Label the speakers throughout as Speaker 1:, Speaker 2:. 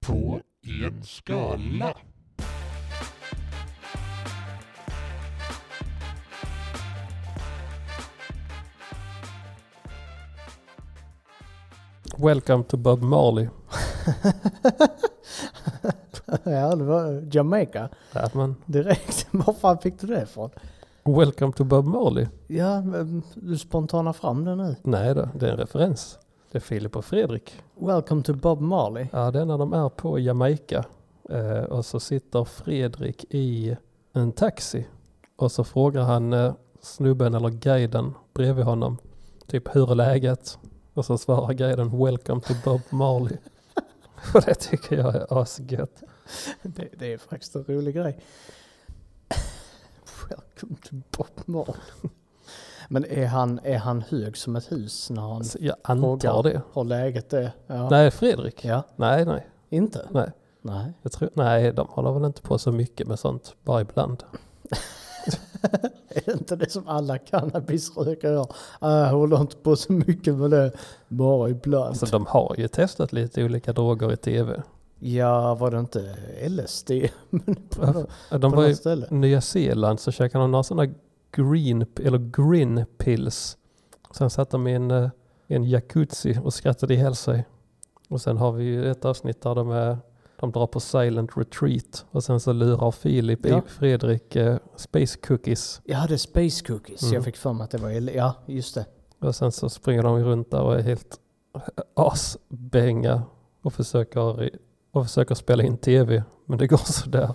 Speaker 1: på en skala.
Speaker 2: Welcome to Bob Marley.
Speaker 3: ja, det var Jamaica
Speaker 2: Batman.
Speaker 3: direkt. Var fan fick du det ifrån?
Speaker 2: Welcome to Bob Marley.
Speaker 3: Ja, men du spontana fram det nu.
Speaker 2: Nej då, det är en referens. Det är Filip och Fredrik.
Speaker 3: Welcome to Bob Marley.
Speaker 2: Ja, det är när de är på Jamaica. Eh, och så sitter Fredrik i en taxi. Och så frågar han eh, snubben eller guiden bredvid honom. Typ hur är läget? Och så svarar guiden Welcome to Bob Marley. och det tycker jag är asgött.
Speaker 3: Det, det är faktiskt en rolig grej. Welcome to Bob Marley. Men är han, är han hög som ett hus när han
Speaker 2: Alltså, jag antar
Speaker 3: Frågar.
Speaker 2: det.
Speaker 3: har läget det? Ja.
Speaker 2: Nej, Fredrik.
Speaker 3: ja.
Speaker 2: Nej, nej.
Speaker 3: Inte?
Speaker 2: Nej.
Speaker 3: Nej.
Speaker 2: Jag tror, nej, de håller väl inte på så mycket med sånt, bara ibland.
Speaker 3: Är det inte det som alla cannabisrökare gör? Ah, Jag håller inte på så mycket med det, bara ibland.
Speaker 2: Alltså de har ju testat lite olika droger i tv.
Speaker 3: Ja, var det inte LSD? Men på något,
Speaker 2: De
Speaker 3: på
Speaker 2: var
Speaker 3: något
Speaker 2: i
Speaker 3: ställe?
Speaker 2: Nya Zeeland så käkade de några sådana green, eller green pills. Sen satt de i en, eh, i en jacuzzi och skrattade ihjäl sig. Och sen har vi ju ett avsnitt där de, är, de drar på silent retreat. Och sen så lurar Filip
Speaker 3: Ja.
Speaker 2: i Fredrik eh, space cookies.
Speaker 3: Jag hade space cookies.
Speaker 2: Mm.
Speaker 3: Jag fick för mig att det var... L- Ja, just det.
Speaker 2: Och sen så springer de runt där och är helt asbänga och försöker, och försöker spela in tv. Men det går sådär.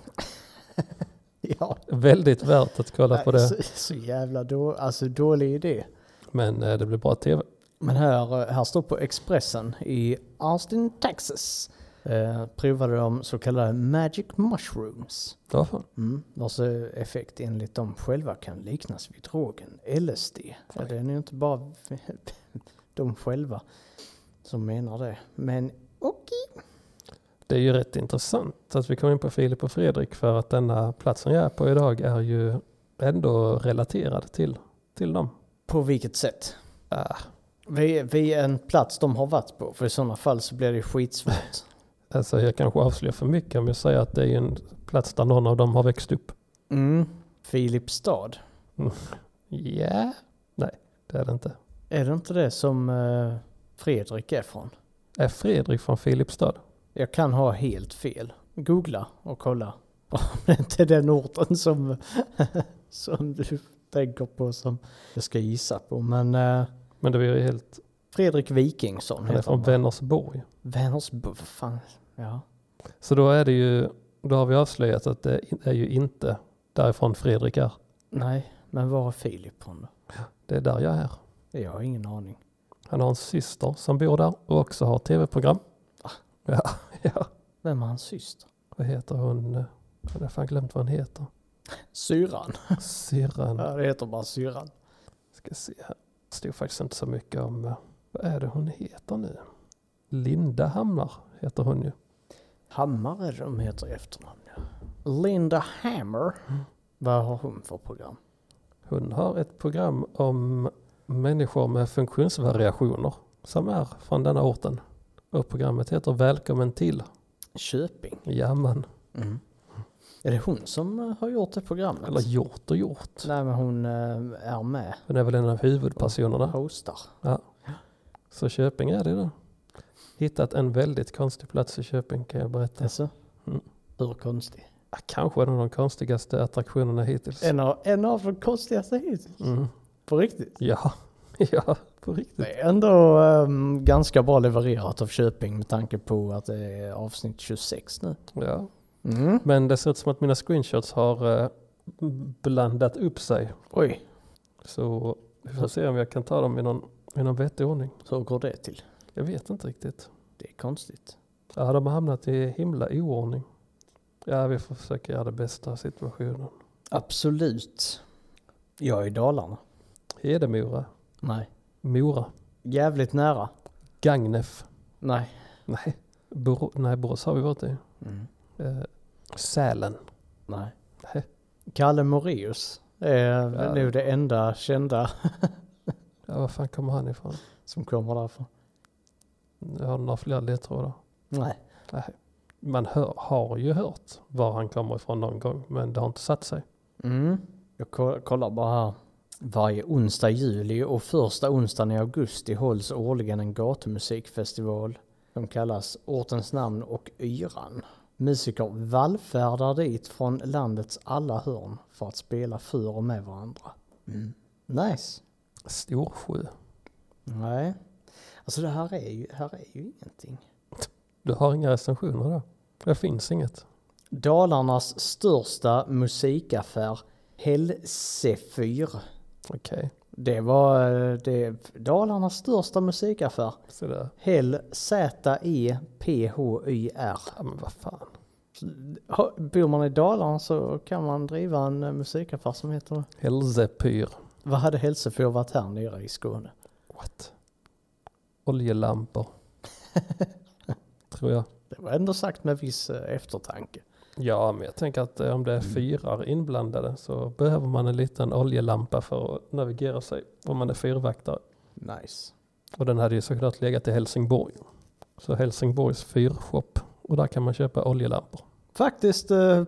Speaker 3: Ja,
Speaker 2: Väldigt värt att kolla på det.
Speaker 3: Så, så jävla då, alltså, dålig idé.
Speaker 2: Men eh, det blir bra tv.
Speaker 3: Men här, eh, här står på Expressen i Austin, Texas. Eh, provade de så kallade magic mushrooms.
Speaker 2: Ja, fan.
Speaker 3: Mm. Vars eh, effekt enligt dem själva kan liknas vid drogen LSD. För det är ju inte bara de själva som menar det. Men okej.
Speaker 2: Det är ju rätt intressant att vi kom in på Filip och Fredrik för att denna platsen jag är på idag är ju ändå relaterad till, till dem.
Speaker 3: På vilket sätt?
Speaker 2: Ah,
Speaker 3: Vi, vi är en plats de har varit på, för i sådana fall så blir det skitsvårt.
Speaker 2: alltså jag kanske avslöjar för mycket om jag säger att det är ju en plats där någon av dem har växt upp.
Speaker 3: Mm. Filipstad.
Speaker 2: Ja, nej det är det inte.
Speaker 3: Är det inte det som eh, Fredrik är från?
Speaker 2: Är Fredrik från Filipstad?
Speaker 3: Jag kan ha helt fel. Googla och kolla. Om det inte är den orten som, som du tänker på som jag ska gissa på. Men eh,
Speaker 2: Men det var ju helt,
Speaker 3: Fredrik Wikingsson
Speaker 2: han är
Speaker 3: heter
Speaker 2: från
Speaker 3: han. va?
Speaker 2: Vänersborg.
Speaker 3: Vänersbo, vad fan. Ja.
Speaker 2: Så då är det ju, då har vi avslöjat att det är ju inte därifrån Fredrik är.
Speaker 3: Nej, men var är Filip från då?
Speaker 2: Det är där jag är.
Speaker 3: Jag har ingen aning.
Speaker 2: Han har en syster som bor där och också har tv-program. Ja, ja.
Speaker 3: Vem är hans syster?
Speaker 2: Vad heter hon? Jag har fan glömt vad hon heter.
Speaker 3: Syran.
Speaker 2: Syrran.
Speaker 3: Ja, det heter bara syran.
Speaker 2: Ska se här. Det stod faktiskt inte så mycket om, eh, vad är det hon heter nu? Linda Hammar heter hon ju.
Speaker 3: Hammare de heter i efternamn ja. Linda Hammer. Vad har hon för program?
Speaker 2: Hon har ett program om människor med funktionsvariationer som är från denna orten. Och programmet heter Välkommen till.
Speaker 3: Köping.
Speaker 2: Jamman.
Speaker 3: Mm. Är det hon som eh, har gjort det programmet?
Speaker 2: Eller gjort och gjort.
Speaker 3: Nej men hon eh, är med.
Speaker 2: Hon är väl en av huvudpersonerna.
Speaker 3: Hostar.
Speaker 2: Så Köping är det då. Hittat en väldigt konstig plats i Köping kan jag berätta.
Speaker 3: Alltså.
Speaker 2: Mm.
Speaker 3: Hur konstig.
Speaker 2: Ja, Kanske en av de konstigaste attraktionerna hittills.
Speaker 3: En av, en av de konstigaste hittills.
Speaker 2: Mm.
Speaker 3: På riktigt.
Speaker 2: Ja. ja, på riktigt.
Speaker 3: Det är ändå ehm, ganska bra levererat av Köping med tanke på att det är avsnitt 26 nu.
Speaker 2: Ja.
Speaker 3: Mm.
Speaker 2: Men det ser ut som att mina screenshots har eh, blandat upp sig.
Speaker 3: Oj,
Speaker 2: Så vi får se om jag kan ta dem i någon, i någon vettig ordning.
Speaker 3: hur går det till?
Speaker 2: Jag vet inte riktigt.
Speaker 3: Det är konstigt.
Speaker 2: Ja, de har hamnat i himla oordning. Ja, vi får försöka göra det bästa av situationen.
Speaker 3: Absolut. Jag är i Dalarna.
Speaker 2: Hedemora,
Speaker 3: Nej.
Speaker 2: Mora,
Speaker 3: Jävligt nära.
Speaker 2: Gagnef.
Speaker 3: Nej.
Speaker 2: Nej, Bor- Nej Borås har vi varit i.
Speaker 3: Mm.
Speaker 2: Eh, Sälen.
Speaker 3: Nej.
Speaker 2: Nej.
Speaker 3: Kalle Moraeus är väl
Speaker 2: Ja.
Speaker 3: nu det enda kända
Speaker 2: Ja, var fan kommer han ifrån?
Speaker 3: som kommer därifrån.
Speaker 2: Jag har några fler ledtrådar.
Speaker 3: Nej.
Speaker 2: Nej. man hör, har ju hört var han kommer ifrån någon gång, men det har inte satt sig.
Speaker 3: Mm. Jag ko- kollar bara här. Varje onsdag i juli och första onsdagen i augusti hålls årligen en gatumusikfestival som kallas Ortens namn och Yran. Musiker vallfärdar dit från landets alla hörn för att spela för och med varandra. Mm. Nice.
Speaker 2: Storsjö.
Speaker 3: Nej. Alltså det här är ju, här är ju ingenting.
Speaker 2: Du har inga recensioner då? Det finns inget.
Speaker 3: Dalarnas största musikaffär Helsefyr.
Speaker 2: Okej,
Speaker 3: Det var eh, det, Dalarnas största musikaffär.
Speaker 2: så där.
Speaker 3: Hell Z-E-P-H-Y-R.
Speaker 2: Ja men vad fan.
Speaker 3: Ha- Bor man i Dalarna så kan man driva en eh, musikaffär som heter...
Speaker 2: Hälsepyr.
Speaker 3: Vad hade Hälsefyr varit här nere i Skåne?
Speaker 2: What? Oljelampor. Tror jag.
Speaker 3: Det var ändå sagt med viss eh, eftertanke.
Speaker 2: Ja, men jag tänker att eh, om det är fyrar inblandade så behöver man en liten oljelampa för att navigera sig om man är fyrvaktare.
Speaker 3: Nice.
Speaker 2: Och den hade ju såklart legat i Helsingborg. Så Helsingborgs fyrshop. Och där kan man köpa oljelampor.
Speaker 3: Faktiskt eh,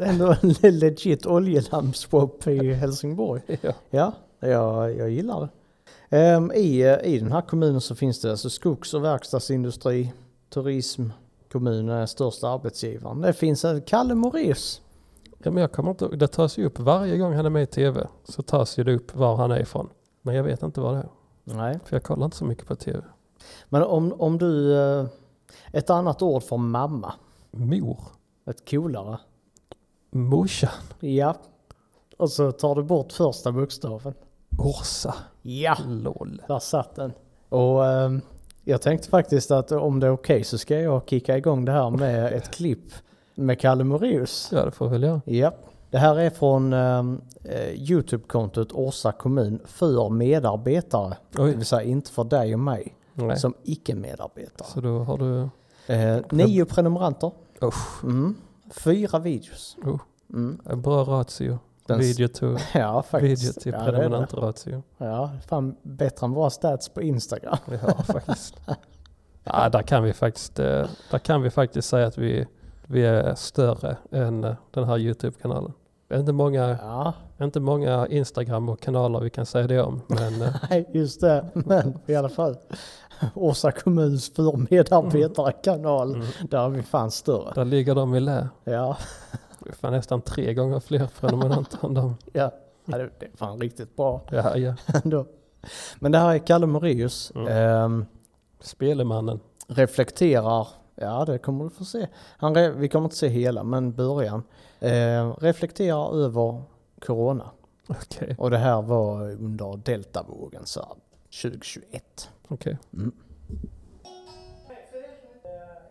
Speaker 3: ändå en legit oljelampsshop i Helsingborg.
Speaker 2: Ja.
Speaker 3: Ja, jag, jag gillar det. Ehm, i, eh, I den här kommunen så finns det alltså skogs och verkstadsindustri, turism, kommunen är den största arbetsgivaren. Det finns en Kalle Moraeus.
Speaker 2: ja, men jag kommer inte ihåg. Det tas ju upp varje gång han är med i tv. Så tas ju det upp var han är ifrån. Men jag vet inte vad det är.
Speaker 3: Nej.
Speaker 2: För jag kollar inte så mycket på tv.
Speaker 3: Men om, om du... eh, Ett annat ord för mamma.
Speaker 2: Mor.
Speaker 3: Ett coolare.
Speaker 2: Morsa.
Speaker 3: Ja. Och så tar du bort första bokstaven.
Speaker 2: Orsa.
Speaker 3: Ja!
Speaker 2: Ah. LOL.
Speaker 3: Där satt den. Och ehm, jag tänkte faktiskt att om det är okej så ska jag kicka igång det här med ett klipp med Kalle Moraeus.
Speaker 2: Ja, det får väl jag.
Speaker 3: Ja, det här är från ehm, eh, Youtube-kontot Orsa kommun för medarbetare. Det
Speaker 2: Oj.
Speaker 3: vill säga inte för dig och mig
Speaker 2: Nej.
Speaker 3: som icke-medarbetare.
Speaker 2: Så då har du...
Speaker 3: Eh, nio prenumeranter.
Speaker 2: Usch.
Speaker 3: Mm. Fyra videos.
Speaker 2: Oh.
Speaker 3: Mm.
Speaker 2: En bra ratio.
Speaker 3: Den s-
Speaker 2: Video to,
Speaker 3: Ja, faktiskt.
Speaker 2: video till
Speaker 3: ja, det är det.
Speaker 2: prenumerantratio.
Speaker 3: Ja, fan bättre än våra stats på Instagram.
Speaker 2: Ja, faktiskt. ja, där kan vi faktiskt, eh, där kan vi faktiskt säga att vi, vi är större än eh, den här YouTube-kanalen. Det är inte många,
Speaker 3: Ja,
Speaker 2: inte många Instagram och kanaler vi kan säga det om, men eh,
Speaker 3: nej, just det. Men i alla fall. Orsa kommuns för medarbetare-kanal.
Speaker 2: Mm.
Speaker 3: Där är vi fan större.
Speaker 2: där ligger de i lä.
Speaker 3: Ja,
Speaker 2: Det är fan nästan tre gånger fler prenumeranter än dem.
Speaker 3: ja. ja det, det är fan riktigt bra.
Speaker 2: Ja, ja.
Speaker 3: ändå. Men det här är Kalle Moraeus.
Speaker 2: Mm.
Speaker 3: Ehm,
Speaker 2: Spelemannen.
Speaker 3: reflekterar, ja det kommer du få se. Han, re- vi kommer inte se hela, men början. Ehm, reflekterar över corona.
Speaker 2: Okej,
Speaker 3: Och det här var under deltavågen så här, 2021.
Speaker 2: okej.
Speaker 3: Mm.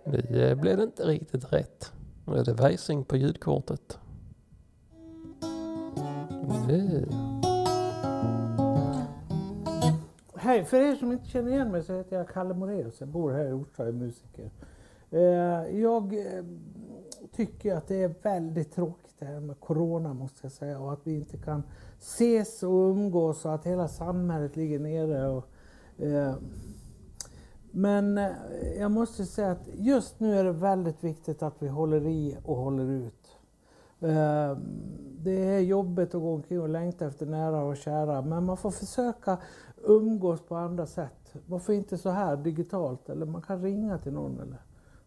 Speaker 2: Nu eh, blev det inte riktigt rätt. Nu är det vajsing på ljudkortet. Nu.
Speaker 4: Hej, för er som inte känner igen mig så heter jag Kalle Moraeus. Jag bor här i Orsa och är musiker. Eh, Jag eh, tycker att det är väldigt tråkigt det här med corona måste jag säga och att vi inte kan ses och umgås och att hela samhället ligger nere. Och, eh, men eh, jag måste säga att just nu är det väldigt viktigt att vi håller i och håller ut. Eh, Det är jobbigt att gå omkring och längta efter nära och kära, men man får försöka umgås på andra sätt. Varför inte så här digitalt? Eller man kan ringa till någon eller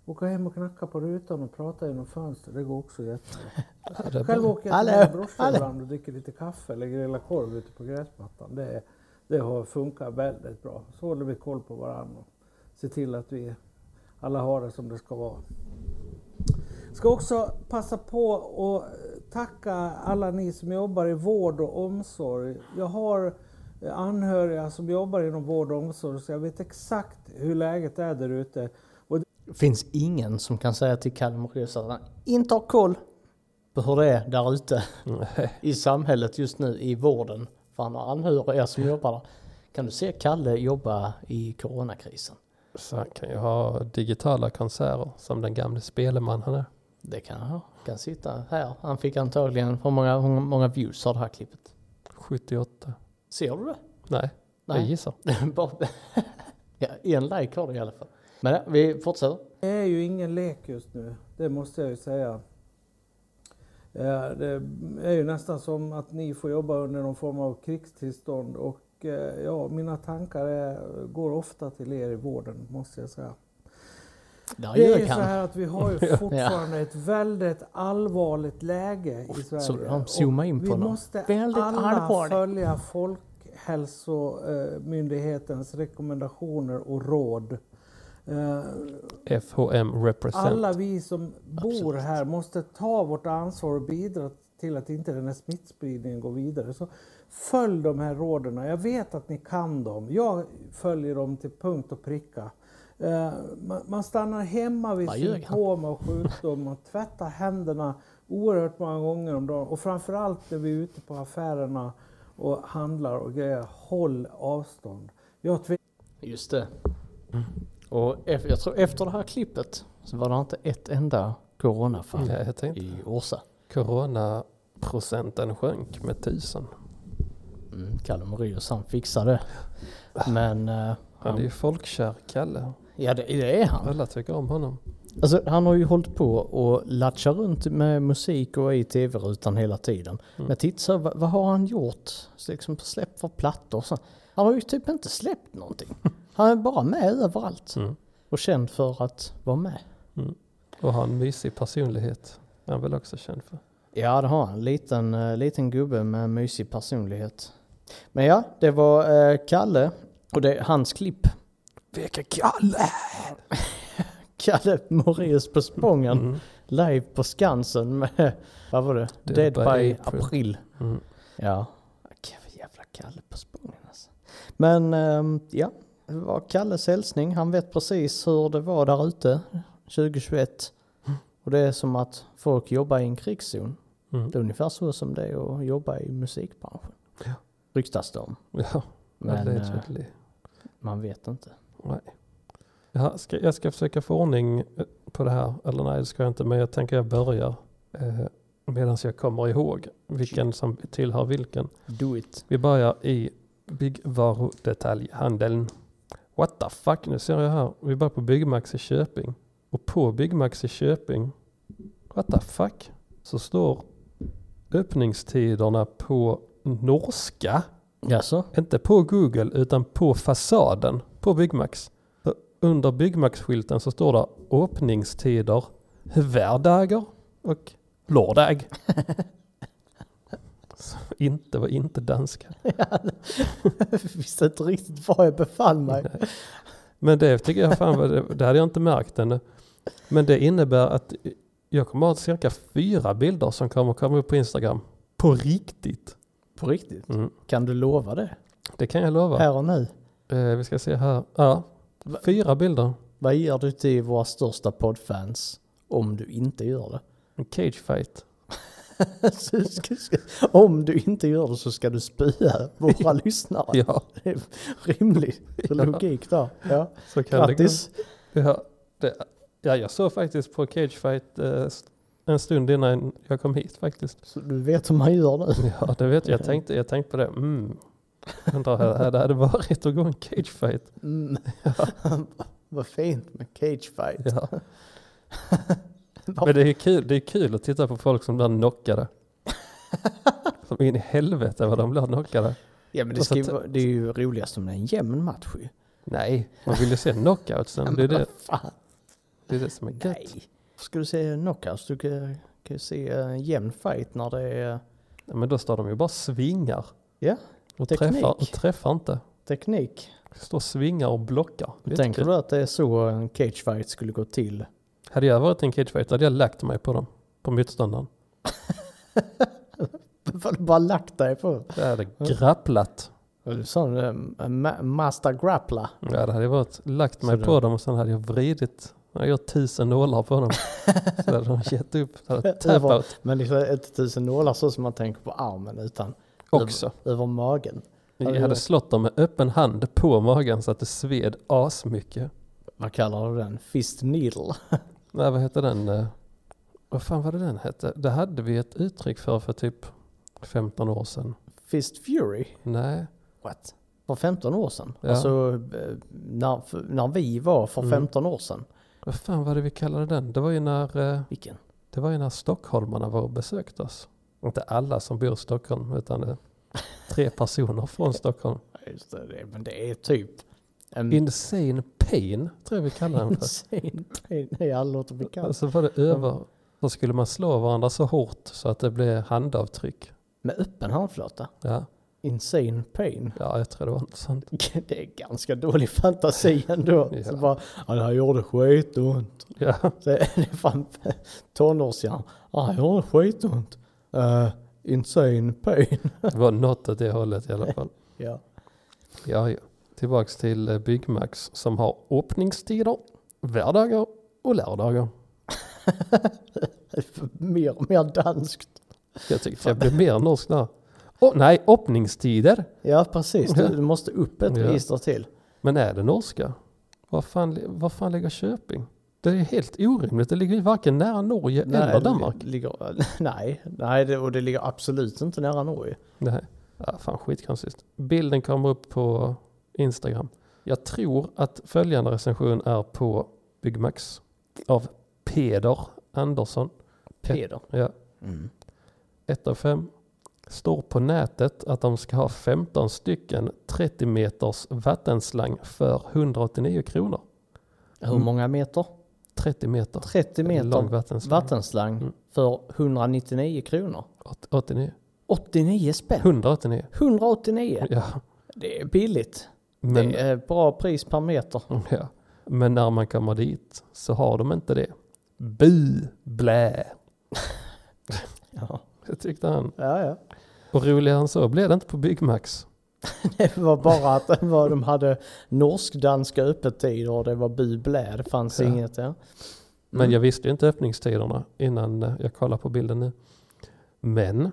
Speaker 4: åka hem och knacka på rutan och prata genom fönster. Det går också jättebra.
Speaker 2: Ja, det är
Speaker 4: Själv
Speaker 2: bra.
Speaker 4: åker jag
Speaker 3: Hallå,
Speaker 4: till mina brorsor
Speaker 3: hallå.
Speaker 4: ibland och dricker lite kaffe eller grillar korv ute på gräsmattan. Det, det har funkat väldigt bra. Så håller vi koll på varandra och ser till att vi alla har det som det ska vara. Ska också passa på och tacka alla ni som jobbar i vård och omsorg. Jag har eh, anhöriga som jobbar inom vård och omsorg så jag vet exakt hur läget är där ute. Och
Speaker 3: Det finns ingen som kan säga till Kalle Moraeus att han inte har koll på hur det är där ute
Speaker 2: Nej.
Speaker 3: i samhället just nu i vården. För han har anhöriga som jobbar där. Kan du se Kalle jobba i coronakrisen?
Speaker 2: Så han kan ju ha digitala konserter som den gamle spelman han är.
Speaker 3: Det kan han. kan sitta här. Han fick antagligen, hur många, hur många views har det här klippet?
Speaker 2: 78.
Speaker 3: Ser du det?
Speaker 2: Nej, jag
Speaker 3: Nej.
Speaker 2: gissar.
Speaker 3: Bara- ja, en like har det i alla fall. Men ja, vi fortsätter.
Speaker 4: Det är ju ingen lek just nu, det måste jag ju säga. Eh, Det är ju nästan som att ni får jobba under någon form av krigstillstånd och eh, ja, mina tankar är, går ofta till er i vården, måste jag säga.
Speaker 3: Där
Speaker 4: Det är ju
Speaker 3: djur
Speaker 4: så
Speaker 3: kan.
Speaker 4: här att vi har ju fortfarande ett väldigt allvarligt läge i Sverige.
Speaker 3: så de zoomar in
Speaker 4: Och
Speaker 3: på
Speaker 4: vi
Speaker 3: dem.
Speaker 4: måste
Speaker 3: Väldigt
Speaker 4: alla
Speaker 3: allvarligt.
Speaker 4: följa Folkhälsomyndighetens rekommendationer och råd. Eh,
Speaker 2: FHM represent.
Speaker 4: Alla vi som bor
Speaker 3: Absolut.
Speaker 4: här måste ta vårt ansvar och bidra till att inte den här smittspridningen går vidare. Så följ de här råden. Jag vet att ni kan dem. Jag följer dem till punkt och pricka. Eh, Man, man stannar hemma vid
Speaker 3: Vad ljög han?
Speaker 4: symptom och sjukdom. Man tvättar händerna oerhört många gånger om dagen. Och framförallt när vi är ute på affärerna och handlar och grejer. Håll avstånd. Jag tvekar
Speaker 3: Just det. Och ef- jag tror efter det här klippet så var det inte ett enda coronafall
Speaker 4: Mm.
Speaker 2: Nej, jag tänkte.
Speaker 3: i Orsa.
Speaker 2: Coronaprocenten sjönk med tusen.
Speaker 3: Mm, Kalle Moraeus han fixar det. Men eh,
Speaker 2: Han är
Speaker 3: han,
Speaker 2: ju folkkär, Kalle.
Speaker 3: ja det, det är han.
Speaker 2: Alla tycker om honom.
Speaker 3: Alltså, han har ju hållit på och latcha runt med musik och i tv-rutan hela tiden. Men titta så här, vad, vad har han gjort? Så liksom släppt för plattor och så. Han har ju typ inte släppt någonting. Han är bara med överallt.
Speaker 2: Mm.
Speaker 3: Och känd för att vara med.
Speaker 2: Och har en mysig personlighet. Han är väl också känd för.
Speaker 3: Ja, det har han. Liten, eh, liten gubbe med en mysig personlighet. Men ja, det var eh, Kalle och det är hans klipp. Vilka Kalle! Kalle Moraeus på Spången.
Speaker 2: Mm.
Speaker 3: Live på Skansen med, vad var det?
Speaker 2: Dead
Speaker 3: Dead,
Speaker 2: by
Speaker 3: by,
Speaker 2: April.
Speaker 3: April.
Speaker 2: Mm.
Speaker 3: Ja. Okej, vad jävla Kalle på Spången alltså. Men ehm, ja, det var Kalles hälsning. Han vet precis hur det var där ute 2021. Och det är som att folk jobbar i en krigszon.
Speaker 2: Mm.
Speaker 3: Det är ungefär så som det är att jobba i musikbranschen.
Speaker 2: Ja.
Speaker 3: Ryktas det om.
Speaker 2: Ja,
Speaker 3: Men eh,
Speaker 2: allegedly.
Speaker 3: man vet inte.
Speaker 2: Nej. Jag ska, jag ska försöka få ordning eh, på det här. Eller nej, det ska jag inte. Men jag tänker jag börjar eh, medan jag kommer ihåg vilken som tillhör vilken.
Speaker 3: Do it.
Speaker 2: Vi börjar i byggvarudetaljhandeln. What the fuck, nu ser jag här. Vi börjar på Byggmax i Köping. Och på Byggmax i Köping, what the fuck, så står öppningstiderna på norska.
Speaker 3: Jaså?
Speaker 2: Inte på Google utan på fasaden på Byggmax. Så Under Byggmax-skylten så står det öppningstider, vardagar och lördag. Så inte var inte danska.
Speaker 3: Jag visste inte riktigt var jag befann mig.
Speaker 2: Men det tycker jag fan, var- det, det hade jag inte märkt ännu. Men det innebär att jag kommer ha cirka fyra bilder som kommer komma upp på Instagram. På riktigt.
Speaker 3: På riktigt?
Speaker 2: Mm.
Speaker 3: Kan du lova det?
Speaker 2: Det kan jag lova.
Speaker 3: Här och nu?
Speaker 2: Eh, vi ska se här. Ja, fyra bilder.
Speaker 3: Vad ger du till våra största poddfans om du inte gör det?
Speaker 2: En cage fight.
Speaker 3: Så du ska- ska- om du inte gör det så ska du spöa våra lyssnare.
Speaker 2: Ja,
Speaker 3: Det är rimlig logik där. Ja.
Speaker 2: så kan
Speaker 3: Grattis!
Speaker 2: det gå. Ja, det, ja, jag såg faktiskt på cage fight eh, st- en stund innan jag kom hit faktiskt.
Speaker 3: Så du vet hur man gör nu.
Speaker 2: Ja, det vet jag. Jag tänkte, jag tänkte på det. Mm. Undrar hur det hade varit att gå en cage fight.
Speaker 3: Mm. Vad fint med cage fight.
Speaker 2: Ja. Men det är, kul, det är kul att titta på folk som blir knockade. som in i helvete vad de blir knockade.
Speaker 3: Ja, men det,
Speaker 2: Och så
Speaker 3: ska ju,
Speaker 2: t-
Speaker 3: vara- det är ju roligast om det är en jämn match ju.
Speaker 2: Nej, man vill ju se knockoutsen. Det är det,
Speaker 3: Fan,
Speaker 2: det, är det som är
Speaker 3: nej.
Speaker 2: gött.
Speaker 3: Ska du se knockouts? Du kan, kan ju se en jämn fight när det är
Speaker 2: Ja, men då står de ju bara och svingar.
Speaker 3: Ja,
Speaker 2: och
Speaker 3: teknik.
Speaker 2: träffar, och träffar inte.
Speaker 3: teknik.
Speaker 2: Står och svingar och blockar. Det är
Speaker 3: Tänker
Speaker 2: jättekul.
Speaker 3: du att det är så en cage fight skulle gå till?
Speaker 2: Hade jag varit i en cagefight hade jag lagt mig på dem. På motståndaren.
Speaker 3: Vad du bara lagt dig på?
Speaker 2: Jag hade grapplat.
Speaker 3: Du sa en ma- master grappla.
Speaker 2: Ja, det hade jag varit. Lagt mig
Speaker 3: Så
Speaker 2: på
Speaker 3: det-
Speaker 2: dem och sen hade jag vridit. Jag gör tusen nålar på dem. Så hade de gett upp. Så hade jag
Speaker 3: Det var-
Speaker 2: tappat
Speaker 3: Men liksom 1000 nålar så som man tänker på armen utan
Speaker 2: också.
Speaker 3: över magen. Ja, det
Speaker 2: Jag
Speaker 3: gör
Speaker 2: hade
Speaker 3: det.
Speaker 2: slått dem med öppen hand på magen så att det sved asmycket.
Speaker 3: Vad kallar du den? Fist needle?
Speaker 2: Nej, vad hette den? eh, Vad fan var det den hette? Det hade vi ett uttryck för för typ 15 år sedan.
Speaker 3: Fist fury?
Speaker 2: Nej,
Speaker 3: What? för 15 år sedan.
Speaker 2: Ja.
Speaker 3: Alltså eh, när, för, när vi var för
Speaker 2: Mm.
Speaker 3: 15 år sedan.
Speaker 2: Vad fan var det vi kallade den? Det var ju när, eh,
Speaker 3: Vilken?
Speaker 2: det var ju när stockholmarna var och besökte oss. Inte alla som bor i Stockholm utan eh, tre personer från Stockholm.
Speaker 3: Ja, Just det, det, men det är typ en
Speaker 2: Insane Pain tror jag vi kallade den för.
Speaker 3: insane pain. Nej, alla låter bekant.
Speaker 2: Alltså var det över. Så skulle man slå varandra så hårt så att det blev handavtryck.
Speaker 3: Med öppen handflata.
Speaker 2: Ja,
Speaker 3: Insane pain.
Speaker 2: ja jag tror det var något sånt.
Speaker 3: Det är ganska dålig fantasi ändå.
Speaker 2: Ja.
Speaker 3: Så bara, ja, det här gjorde skitont.
Speaker 2: Ja,
Speaker 3: Så är det fan tonårsjärn. Ja, det gjorde skitont. Uh, insane pain.
Speaker 2: det var något åt det hållet i alla fall.
Speaker 3: Ja.
Speaker 2: Ja, ja. Tillbaks till eh, Byggmax som har öppningstider, vardagar och lördagar.
Speaker 3: Mer och mer danskt.
Speaker 2: Jag tyckte jag blev mer norsk där. Åh nej, öppningstider!
Speaker 3: Ja, precis. Du, du måste upp ett
Speaker 2: Ja.
Speaker 3: register till.
Speaker 2: Men är det norska? Var fan, li- var fan ligger Köping? Det är helt orimligt. Det ligger ju varken nära Norge eller
Speaker 3: det
Speaker 2: Danmark.
Speaker 3: Ligger, nej, nej det, och det ligger absolut inte nära Norge.
Speaker 2: Nej. Ja, fan skitkonstigt. Bilden kommer upp på Instagram. Jag tror att följande recension är på Byggmax av Peder Andersson.
Speaker 3: Peder.
Speaker 2: Ja.
Speaker 3: Mm.
Speaker 2: 1 av 5. Står på nätet att de ska ha 15 stycken 30 meters vattenslang för 189 kronor.
Speaker 3: Hur många meter?
Speaker 2: 30 meter.
Speaker 3: 30
Speaker 2: Lång
Speaker 3: meter
Speaker 2: vattenslang.
Speaker 3: vattenslang
Speaker 2: Mm.
Speaker 3: för 199 kronor.
Speaker 2: Åt- 89.
Speaker 3: 89 spänn.
Speaker 2: 189.
Speaker 3: 189.
Speaker 2: Ja.
Speaker 3: Det är billigt.
Speaker 2: Men,
Speaker 3: Det är bra pris per meter.
Speaker 2: ja. Men när man kommer dit så har de inte det. Bu, blä,
Speaker 3: Ja,
Speaker 2: det tyckte han.
Speaker 3: ja. ja.
Speaker 2: Och roligare än så blev det inte på Byggmax.
Speaker 3: Det var bara att det var, de hade norsk-danska öppettider och det var bu blä. Det fanns
Speaker 2: Ja.
Speaker 3: inget. Ja.
Speaker 2: Men
Speaker 3: Mm.
Speaker 2: jag visste ju inte öppningstiderna innan eh, jag kollade på bilden nu. Men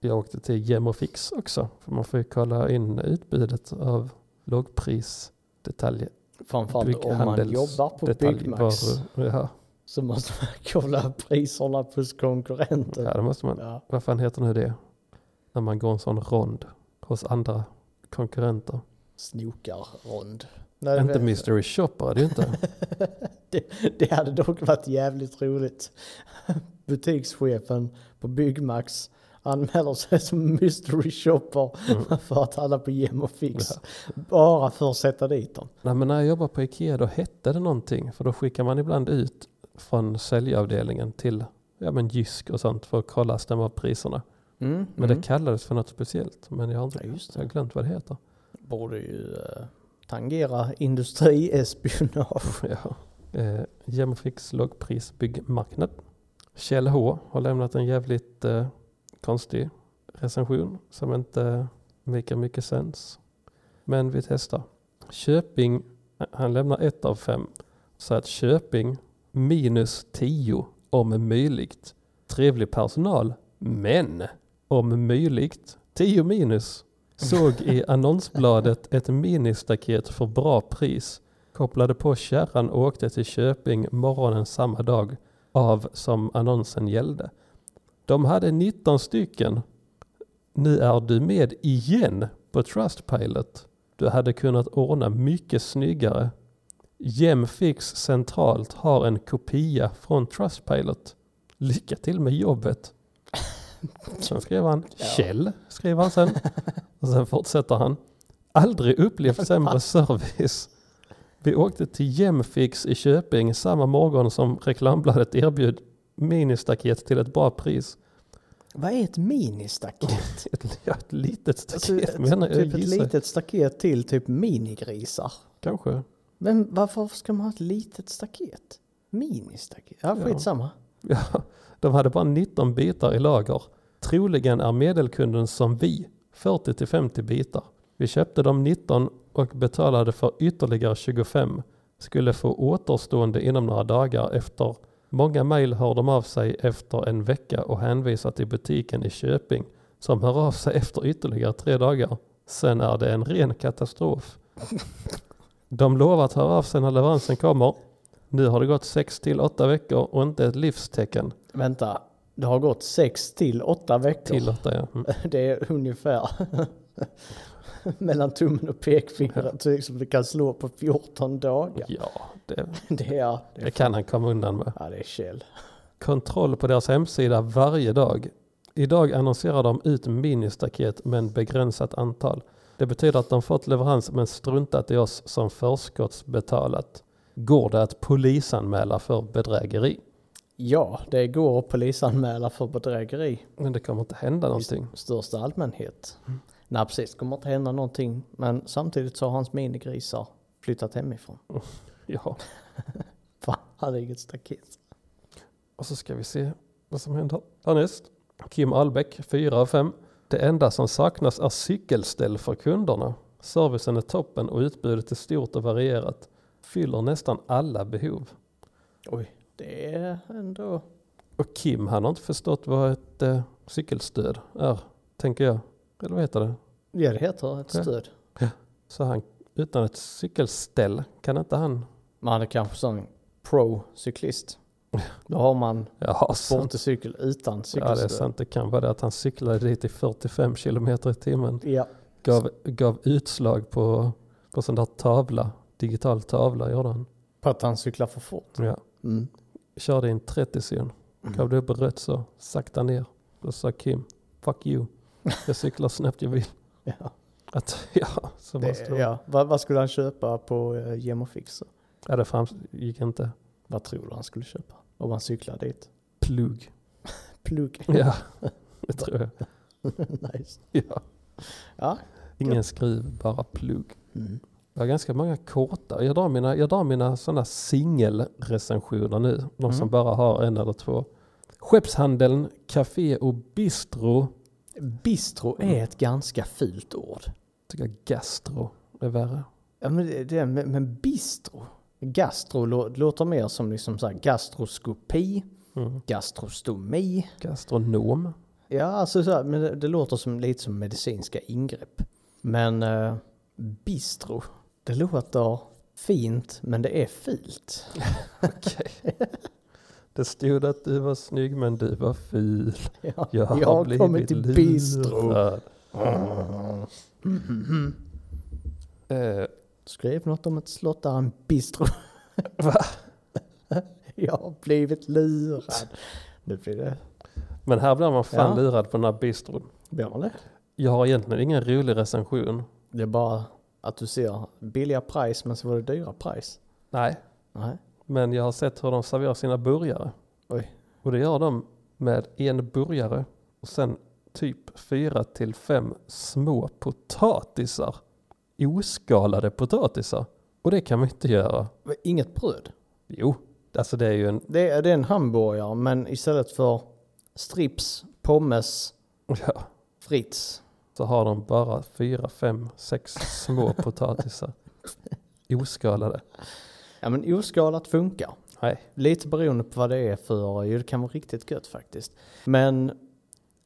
Speaker 2: jag åkte till Gemofix också. För man får ju kolla in utbudet av lågprisdetaljer.
Speaker 3: Framförallt om man
Speaker 2: Bygghandels-
Speaker 3: jobbar på
Speaker 2: detalj-
Speaker 3: Byggmax
Speaker 2: varor. Ja,
Speaker 3: så måste man kolla priserna hos konkurrenten.
Speaker 2: ja, det måste man.
Speaker 3: Ja.
Speaker 2: Vad fan heter nu det? När man går en sån rond hos andra konkurrenter.
Speaker 3: Snokarrond. Nej,
Speaker 2: inte
Speaker 3: men-
Speaker 2: Mystery Shopper är det ju inte.
Speaker 3: det, det hade dock varit jävligt roligt. Butikschefen på Byggmax anmäler sig som mystery shopper
Speaker 2: Mm.
Speaker 3: för att handla på Gem och Fix. Bara för att sätta dit dem.
Speaker 2: Nej, men när jag jobbade på Ikea då hette det någonting. För då skickar man ibland ut från säljavdelningen till ja, men Jysk och sånt för att kolla stämmer priserna. Mm, Men det kallades för något speciellt. Men jag har, inte,
Speaker 3: Mm. Ja, just det.
Speaker 2: jag har glömt vad det heter.
Speaker 3: borde ju eh, tangera industriespionage.
Speaker 2: Ja. Eh, Gemfix lågprisbyggmarknad. Kjell H har lämnat en jävligt eh, konstig recension som inte make mycket sens. Men vi testar. Köping, eh, han lämnar ett av fem. Så att Köping minus 10 om möjligt. Trevlig personal, men om möjligt 10 minus. Såg i annonsbladet ett ministaket för bra pris. Kopplade på kärran och åkte till Köping morgonen samma dag av som annonsen gällde. De hade 19 stycken. Nu är du med igen på Trustpilot. Du hade kunnat ordna mycket snyggare. Jämfix centralt har en kopia från Trustpilot. Lycka till med jobbet. Sen skrev han
Speaker 3: Ja.
Speaker 2: Kjell, skrev han sen. Och sen fortsätter han. Aldrig upplevt sämre service. Vi åkte till Jämfix i Köping samma morgon som reklambladet erbjöd ministaket till ett bra pris.
Speaker 3: Vad är ett ministaket?
Speaker 2: Ett, ja, ett litet staket
Speaker 3: Alltså, ett,
Speaker 2: menar jag,
Speaker 3: typ ett
Speaker 2: gissar.
Speaker 3: litet staket till typ minigrisar.
Speaker 2: Kanske.
Speaker 3: Men varför ska man ha ett litet staket? Ministaket? Ja,
Speaker 2: Ja.
Speaker 3: skitsamma.
Speaker 2: Ja, de hade bara 19 bitar i lager. Troligen är medelkunden som vi, 40-50 bitar. Vi köpte de 19 och betalade för ytterligare 25. Skulle få återstående inom några dagar efter. Många mejl hör de av sig efter en vecka och hänvisar till butiken i Köping som hör av sig efter ytterligare tre dagar. Sen är det en ren katastrof. De lovar att höra av sig när leveransen kommer. Nu har det gått 6 till 8 veckor och inte ett livstecken.
Speaker 3: Vänta, det har gått sex till åtta veckor.
Speaker 2: Till åtta, ja. Mm.
Speaker 3: Det är ungefär mellan tummen och pekfingret som du kan slå på 14 dagar.
Speaker 2: Ja, det,
Speaker 3: Det är, det är,
Speaker 2: det kan han komma undan med.
Speaker 3: ja, det är käll.
Speaker 2: Kontroll på deras hemsida varje dag. Idag annonserar de ut ministaket med en begränsat antal. Det betyder att de fått leverans men struntat i oss som förskottsbetalat. Går det att polisanmäla för bedrägeri?
Speaker 3: Ja, det går att polisanmäla för bedrägeri.
Speaker 2: Men det kommer inte hända någonting.
Speaker 3: i största allmänhet. Nej precis, det kommer inte hända någonting. Men samtidigt så har hans minigrisar flyttat hemifrån.
Speaker 2: Ja.
Speaker 3: Fan, han är inget staket.
Speaker 2: Och så ska vi se vad som händer härnäst. Kim Albeck, 4 av 5. Det enda som saknas är cykelställ för kunderna. Servicen är toppen och utbudet är stort och varierat. Fyller nästan alla behov.
Speaker 3: Oj, det är ändå...
Speaker 2: Och Kim han har inte förstått vad ett eh, cykelstöd är, tänker jag. Eller vad heter det?
Speaker 3: Ja, det heter ett
Speaker 2: Ja.
Speaker 3: stöd.
Speaker 2: Så han, utan ett cykelställ kan inte han...
Speaker 3: Man är kanske sån pro-cyklist. Då har man
Speaker 2: Ja, sant.
Speaker 3: sportcykel utan
Speaker 2: Ja, det är
Speaker 3: cykelstöd.
Speaker 2: sant. Det kan vara det att han cyklade dit i 45 kilometer i timmen.
Speaker 3: Ja,
Speaker 2: Gav, gav utslag på, på sån där tavla. Digital tavla gjorde han.
Speaker 3: på att han cyklar för fort.
Speaker 2: Ja.
Speaker 3: Mm.
Speaker 2: Körde i en 30-zon.
Speaker 3: Mhm.
Speaker 2: Gav det upp i rött så sakta ner. Då sa Kim, fuck you. Jag cyklar snabbt jag vill.
Speaker 3: Ja,
Speaker 2: Att, ja, så måste
Speaker 3: det,
Speaker 2: det vara.
Speaker 3: ja. Vad, vad skulle han köpa på eh, Gemofixer?
Speaker 2: Ja, det fram- gick inte.
Speaker 3: Vad tror du han skulle köpa? Om han cyklar dit?
Speaker 2: Plug.
Speaker 3: Plugg.
Speaker 2: Ja, det tror jag.
Speaker 3: nice.
Speaker 2: Ja.
Speaker 3: Ja.
Speaker 2: Ingen skruv, bara plug.
Speaker 3: Mm.
Speaker 2: Jag har ganska många korta. Jag drar mina, jag drar mina sådana singelrecensioner nu. De som
Speaker 3: Mm.
Speaker 2: bara har en eller två. Skeppshandeln, Café och Bistro.
Speaker 3: Bistro är ett ganska fult ord.
Speaker 2: Tycker jag gastro är värre.
Speaker 3: Ja, men, det, det, men, men bistro? Gastro lå- låter mer som liksom så här gastroskopi,
Speaker 2: Mm.
Speaker 3: gastrostomi.
Speaker 2: Gastronom.
Speaker 3: Ja, alltså så här, men det, det låter som, lite som medicinska ingrepp. Men eh, bistro, det låter fint men det är fult.
Speaker 2: Okej. Det stod att du var snygg men du var ful.
Speaker 3: Ja,
Speaker 2: Jag har, blivit
Speaker 3: kommit till bistro.
Speaker 2: lurad. Eh,
Speaker 3: Skrev något om ett slott där en bistro.
Speaker 2: Va?
Speaker 3: Jag har blivit lurad. Nu blir det...
Speaker 2: Men här blir man fan
Speaker 3: Ja.
Speaker 2: lurad på den här bistron.
Speaker 3: Blir man det?
Speaker 2: Jag har egentligen ingen rolig recension.
Speaker 3: Det är bara att du ser billiga price men så var det dyra price.
Speaker 2: Nej.
Speaker 3: Nej.
Speaker 2: Men jag har sett hur de serverar sina burgare.
Speaker 3: Oj.
Speaker 2: Och det gör de med en burgare och sen typ fyra till fem små potatisar. Oskalade potatisar. Och det kan man inte göra.
Speaker 3: Men Inget bröd.
Speaker 2: Jo, alltså det är ju en...
Speaker 3: Det är, det är en hamburgare men istället för strips, pommes,
Speaker 2: Ja,
Speaker 3: frites.
Speaker 2: så har de bara fyra, fem, sex små potatisar. Oskalade.
Speaker 3: Ja men oskalat funkar.
Speaker 2: Nej.
Speaker 3: Lite beroende på vad det är för, ju det kan vara riktigt gött faktiskt. Men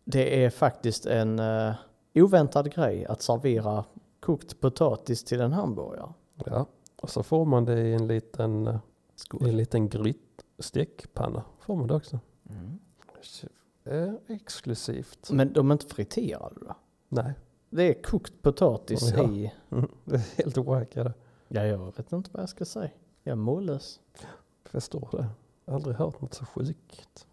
Speaker 3: det är faktiskt en eh, oväntad grej att servera kokt potatis till en hamburgare.
Speaker 2: Ja, och så får man det i en liten, eh, i
Speaker 3: Skål.
Speaker 2: en liten gryt, stekpanna. Får man det också. Mm. Eh, exklusivt.
Speaker 3: Men de är inte friterade då?
Speaker 2: Nej,
Speaker 3: Det är kokt potatis
Speaker 2: Ja.
Speaker 3: i
Speaker 2: mm, det är helt wack är det.
Speaker 3: Ja, jag vet inte vad jag ska säga. Jag är mållös.
Speaker 2: Förstår det. Jag har aldrig hört något så sjukt.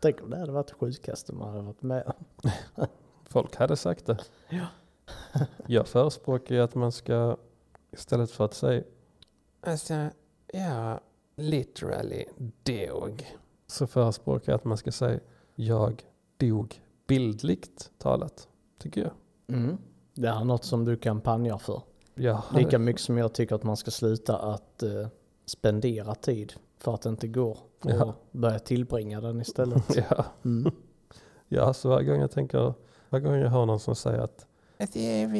Speaker 3: Tänk om det hade varit det sjukaste man hade varit med om.
Speaker 2: Folk hade sagt det.
Speaker 3: Ja.
Speaker 2: Jag förespråkar ju att man ska istället för att säga Alltså, ja, literally dog. Så förespråkar jag att man ska säga jag dog bildligt talat. Tycker jag.
Speaker 3: Mm. Det är något som du kampanjar för.
Speaker 2: jag hade-
Speaker 3: Lika mycket som jag tycker att man ska sluta att eh, spendera tid för att det inte går. Och
Speaker 2: Ja.
Speaker 3: börja tillbringa den istället.
Speaker 2: Ja.
Speaker 3: Mm.
Speaker 2: Ja, så varje gång jag tänker, varje gång jag hör någon som säger att alltså, jag,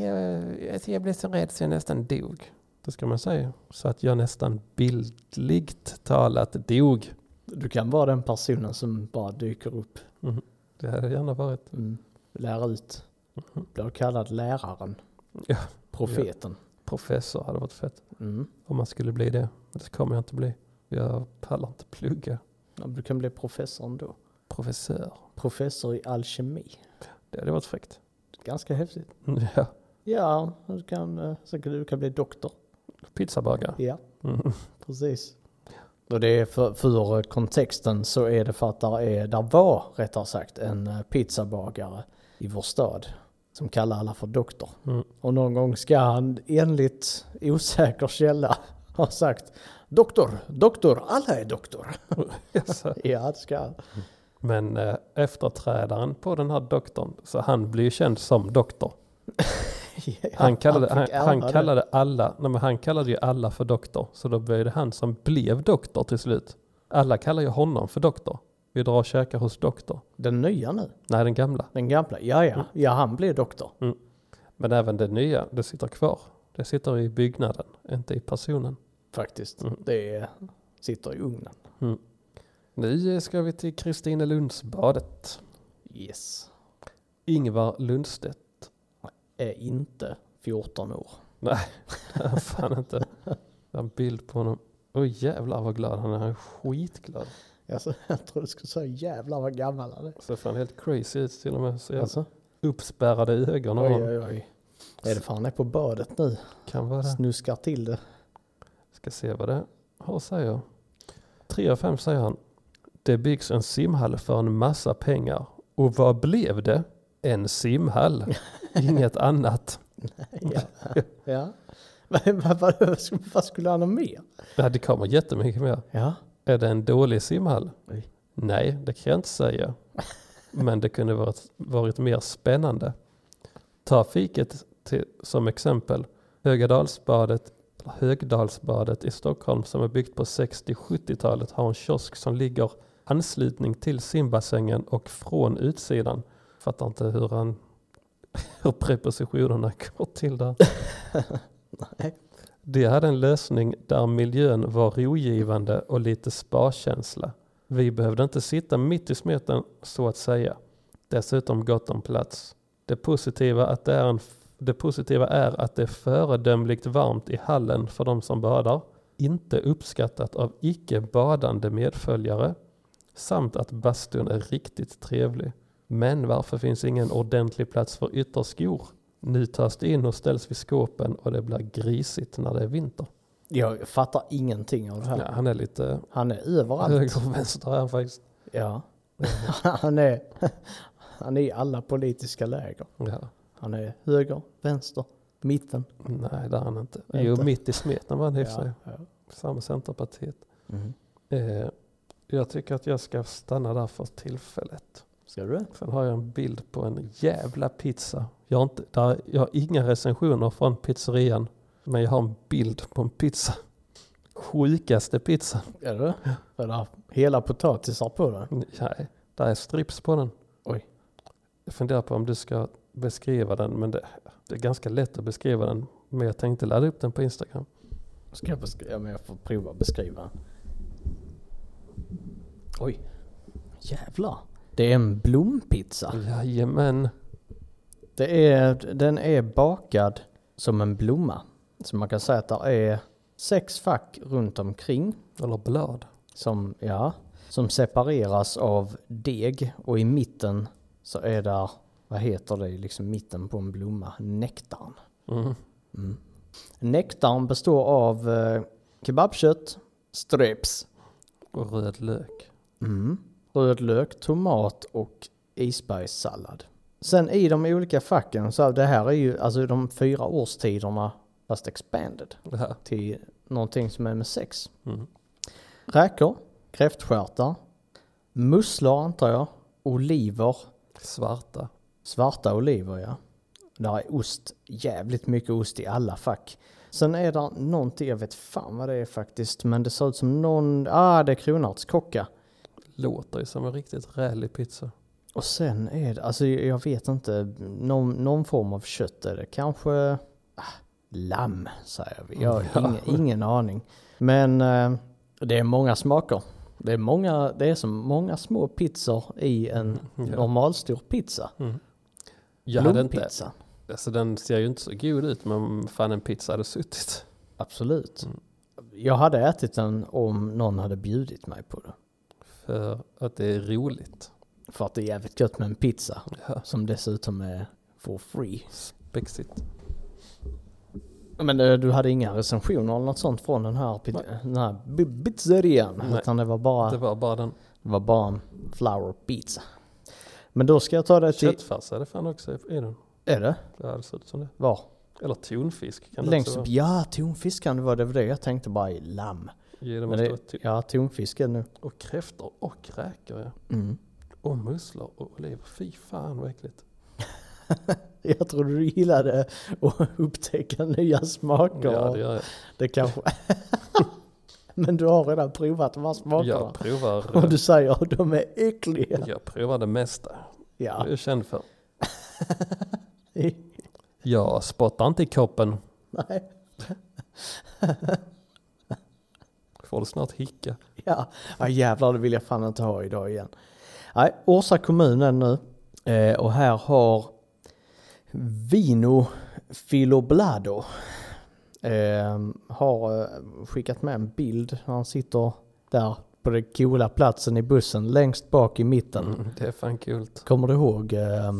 Speaker 2: jag, alltså, jag blev så rädd så jag nästan dog. Då ska man säga så att jag nästan bildligt talat dog.
Speaker 3: Du kan vara den personen som bara dyker upp.
Speaker 2: Det hade gärna varit. Mhm.
Speaker 3: Mm. Lär ut. Blir kallad läraren.
Speaker 2: Ja.
Speaker 3: Profeten.
Speaker 2: Professor hade varit fett
Speaker 3: Mm.
Speaker 2: om man skulle bli det. Men det kommer jag inte bli. Jag pallar inte plugga.
Speaker 3: Ja, Du kan bli professor ändå.
Speaker 2: Professör.
Speaker 3: Professor i alkemi.
Speaker 2: Det hade varit fräckt. Mm,
Speaker 3: Ganska häftigt.
Speaker 2: Ja,
Speaker 3: Ja, du kan, eh, så kan du kan bli doktor.
Speaker 2: pizzabagare.
Speaker 3: Ja,
Speaker 2: Mm.
Speaker 3: precis. Och det är för, för kontexten så är det för att där, är, där var, rättare sagt, en eh, pizzabagare i vår stad som kallar alla för doktor.
Speaker 2: Mm.
Speaker 3: Och någon gång ska han enligt osäker källa ha sagt doktor, doktor, alla är doktor.
Speaker 2: Så.
Speaker 3: Ja, det ska han.
Speaker 2: Men eh, efterträdaren på den här doktorn, så han blir ju känd som doktor.
Speaker 3: Ja,
Speaker 2: Han kallade,
Speaker 3: fick
Speaker 2: han,
Speaker 3: ära
Speaker 2: han
Speaker 3: det.
Speaker 2: kallade alla, nej men han kallade ju alla för doktor. Så då blev det han som blev doktor till slut. Alla kallar ju honom för doktor. Vi drar och käkar hos doktor.
Speaker 3: Den nya nu,
Speaker 2: Nej, den gamla.
Speaker 3: den gamla. Ja, ja, ja, han blev doktor.
Speaker 2: Men även det nya, det sitter kvar. Det sitter i byggnaden, inte i personen.
Speaker 3: Faktiskt.
Speaker 2: Mm.
Speaker 3: Det är, sitter i ugnen.
Speaker 2: Nu eh, ska vi till Kristinelundsbadet.
Speaker 3: Yes.
Speaker 2: Ingvar Lundstedt.
Speaker 3: Är inte 14 år.
Speaker 2: Fan inte. Jag har en bild på honom. Oj jävlar vad glad han är. Han är skitglad.
Speaker 3: Alltså, jag trodde du skulle säga jävlar vad gammal han är.
Speaker 2: Ser fan helt crazy ut till och med. Så jävla
Speaker 3: Alltså,
Speaker 2: uppspärrade ögon har
Speaker 3: oj,
Speaker 2: han.
Speaker 3: oj, oj. Är det för han är på badet nu?
Speaker 2: Kan vara det.
Speaker 3: Snuskar till det.
Speaker 2: Ska se vad det har säger. 3 av 5 säger han. Det byggs en simhall för en massa pengar. Och vad blev det? En simhall. Inget annat.
Speaker 3: Ja. ja. Vad, vad, vad, vad skulle han ha mer?
Speaker 2: Nej, det kommer jättemycket mer.
Speaker 3: Ja.
Speaker 2: Är det en dålig simhall?
Speaker 3: Nej.
Speaker 2: Nej, det kan jag inte säga. Men det kunde varit, varit mer spännande. Ta fiket till, som exempel. Högadalsbadet, Högdalsbadet i Stockholm som är byggt på 60-70-talet har en kiosk som ligger anslutning till simbassängen och från utsidan. Fattar inte hur han hur prepositionerna går till där.
Speaker 3: Nej.
Speaker 2: Det hade en lösning där miljön var rogivande och lite sparkänsla. Vi behövde inte sitta mitt i smeten så att säga. Dessutom gott om plats. Det positiva, att det, är en, det positiva är att det är föredömligt varmt i hallen för de som badar. Inte uppskattat av icke badande medföljare. Samt att bastun är riktigt trevlig. Men varför finns ingen ordentlig plats för ytterskor? Nu tas det in och ställs vid skåpen och det blir grisigt när det är vinter.
Speaker 3: Jag fattar ingenting av det här.
Speaker 2: Ja, han är lite
Speaker 3: Han är överallt.
Speaker 2: höger och vänster här faktiskt.
Speaker 3: Ja. Han är, han är i alla politiska läger.
Speaker 2: Ja.
Speaker 3: Han är höger, vänster, mitten.
Speaker 2: Nej, det är han inte.
Speaker 3: Inte.
Speaker 2: Jo, mitt i smeten var han i och för sig.
Speaker 3: Ja, ja.
Speaker 2: Samma Centerpartiet.
Speaker 3: Mm.
Speaker 2: Eh, jag tycker att jag ska stanna där för tillfället.
Speaker 3: Ska du det?
Speaker 2: Sen har jag en bild på en jävla pizza. Jag har, inte, där, jag har inga recensioner från pizzerian. Men jag har en bild på en pizza. Sjukaste pizzan.
Speaker 3: Är det det? Är det här hela potatisar på den?
Speaker 2: Nej, där är strips på den.
Speaker 3: Oj.
Speaker 2: Jag funderar på om du ska beskriva den. Men det, det är ganska lätt att beskriva den. Men jag tänkte ladda upp den på Instagram.
Speaker 3: Ska jag beskriva? Ja, men jag får prova att beskriva. Oj. Jävlar. Det är en
Speaker 2: Ah.
Speaker 3: blompizza.
Speaker 2: Jajamän.
Speaker 3: Det är, den är bakad som en blomma. Så man kan säga att det är sex fack runt omkring
Speaker 2: Eller blad.
Speaker 3: som, ja, som separeras av deg och i mitten så är där, vad heter det, i liksom mitten på en blomma, nektarn.
Speaker 2: Mm.
Speaker 3: Mm. Nektarn består av eh, kebabkött, strips,
Speaker 2: Och röd lök.
Speaker 3: Mm. Rödlök, tomat och isbergssallad. Sen i de olika facken, så det här är ju alltså de fyra årstiderna fast expanded
Speaker 2: Ja.
Speaker 3: till någonting som är med sex.
Speaker 2: Mm.
Speaker 3: Räkor, kräftstjärtar, musslor antar jag, oliver,
Speaker 2: Svarta.
Speaker 3: svarta oliver ja. Där är ost, jävligt mycket ost i alla fack. Sen är där någonting, jag vet fan vad det är faktiskt, men det ser ut som någon, ah det är kronärtskocka.
Speaker 2: Låter ju som en riktigt rälig pizza.
Speaker 3: Och sen är det, alltså jag jag vet inte, någon, någon form av kött är det. Kanske ah, lamm säger vi. Jag har
Speaker 2: Ja.
Speaker 3: ingen, ingen aning. Men eh, det är många smaker. Det är, många, det är så många små pizzor i en
Speaker 2: Mm, Ja.
Speaker 3: normalstor pizza.
Speaker 2: Mm. Jag hade inte,
Speaker 3: Blompizza.
Speaker 2: alltså den ser ju inte så god ut men fan en pizza hade suttit.
Speaker 3: Absolut.
Speaker 2: Mm.
Speaker 3: Jag hade ätit den om någon hade bjudit mig på det.
Speaker 2: För att det är roligt.
Speaker 3: För att det är jävligt gött med en pizza
Speaker 2: Ja.
Speaker 3: som dessutom är for free.
Speaker 2: Spexigt.
Speaker 3: Men eh, du hade inga recensioner eller något sånt från den här, pit- den här bi- pizzerian?
Speaker 2: Nej.
Speaker 3: Utan det var bara,
Speaker 2: Det var bara den.
Speaker 3: det var bara en flour pizza. Men då ska jag ta det till...
Speaker 2: Köttfärs är det fan också i i den.
Speaker 3: Är det?
Speaker 2: Ja, det ser ut som det.
Speaker 3: Var?
Speaker 2: Eller tonfisk kan det
Speaker 3: Längst
Speaker 2: också
Speaker 3: upp?
Speaker 2: vara.
Speaker 3: Ja, tonfisk kan det vara. Det var det jag tänkte bara i lamm.
Speaker 2: Ja, det
Speaker 3: Men
Speaker 2: måste
Speaker 3: det,
Speaker 2: vara ton-
Speaker 3: ja, tonfisk är det nu.
Speaker 2: Och kräftor och kräkor ja.
Speaker 3: Mm.
Speaker 2: Och musslor och oliver. Fy fan vad äckligt.
Speaker 3: Jag trodde du gillade att upptäcka nya smaker.
Speaker 2: Ja, det
Speaker 3: det,
Speaker 2: gör jag.
Speaker 3: kanske... Men du har redan provat de här smakerna.
Speaker 2: Jag provar, eh,
Speaker 3: Och du säger att de är äckliga.
Speaker 2: jag provar det mesta.
Speaker 3: Ja.
Speaker 2: Det är jag känd för. Jag spottar inte i koppen.
Speaker 3: Nej.
Speaker 2: Får du snart hicka.
Speaker 3: Ja. ja, jävlar det vill jag fan inte ha idag igen. Nej, Orsa kommun är det nu. Eh, och här har Vino Filoblado eh, har eh, skickat med en bild. Han sitter där på den coola platsen i bussen längst bak i mitten.
Speaker 2: Mm, det är fan kul.
Speaker 3: Kommer du ihåg eh,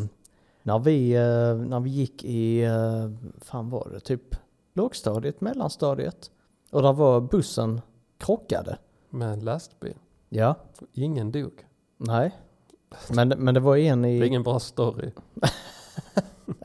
Speaker 3: när, vi, eh, när vi gick i, eh, fan var det, typ lågstadiet, mellanstadiet? Och där var bussen krockade.
Speaker 2: Med en lastbil.
Speaker 3: Ja,
Speaker 2: Ingen dog.
Speaker 3: nej. Men, men det var en
Speaker 2: Det är
Speaker 3: i,
Speaker 2: ingen bra story.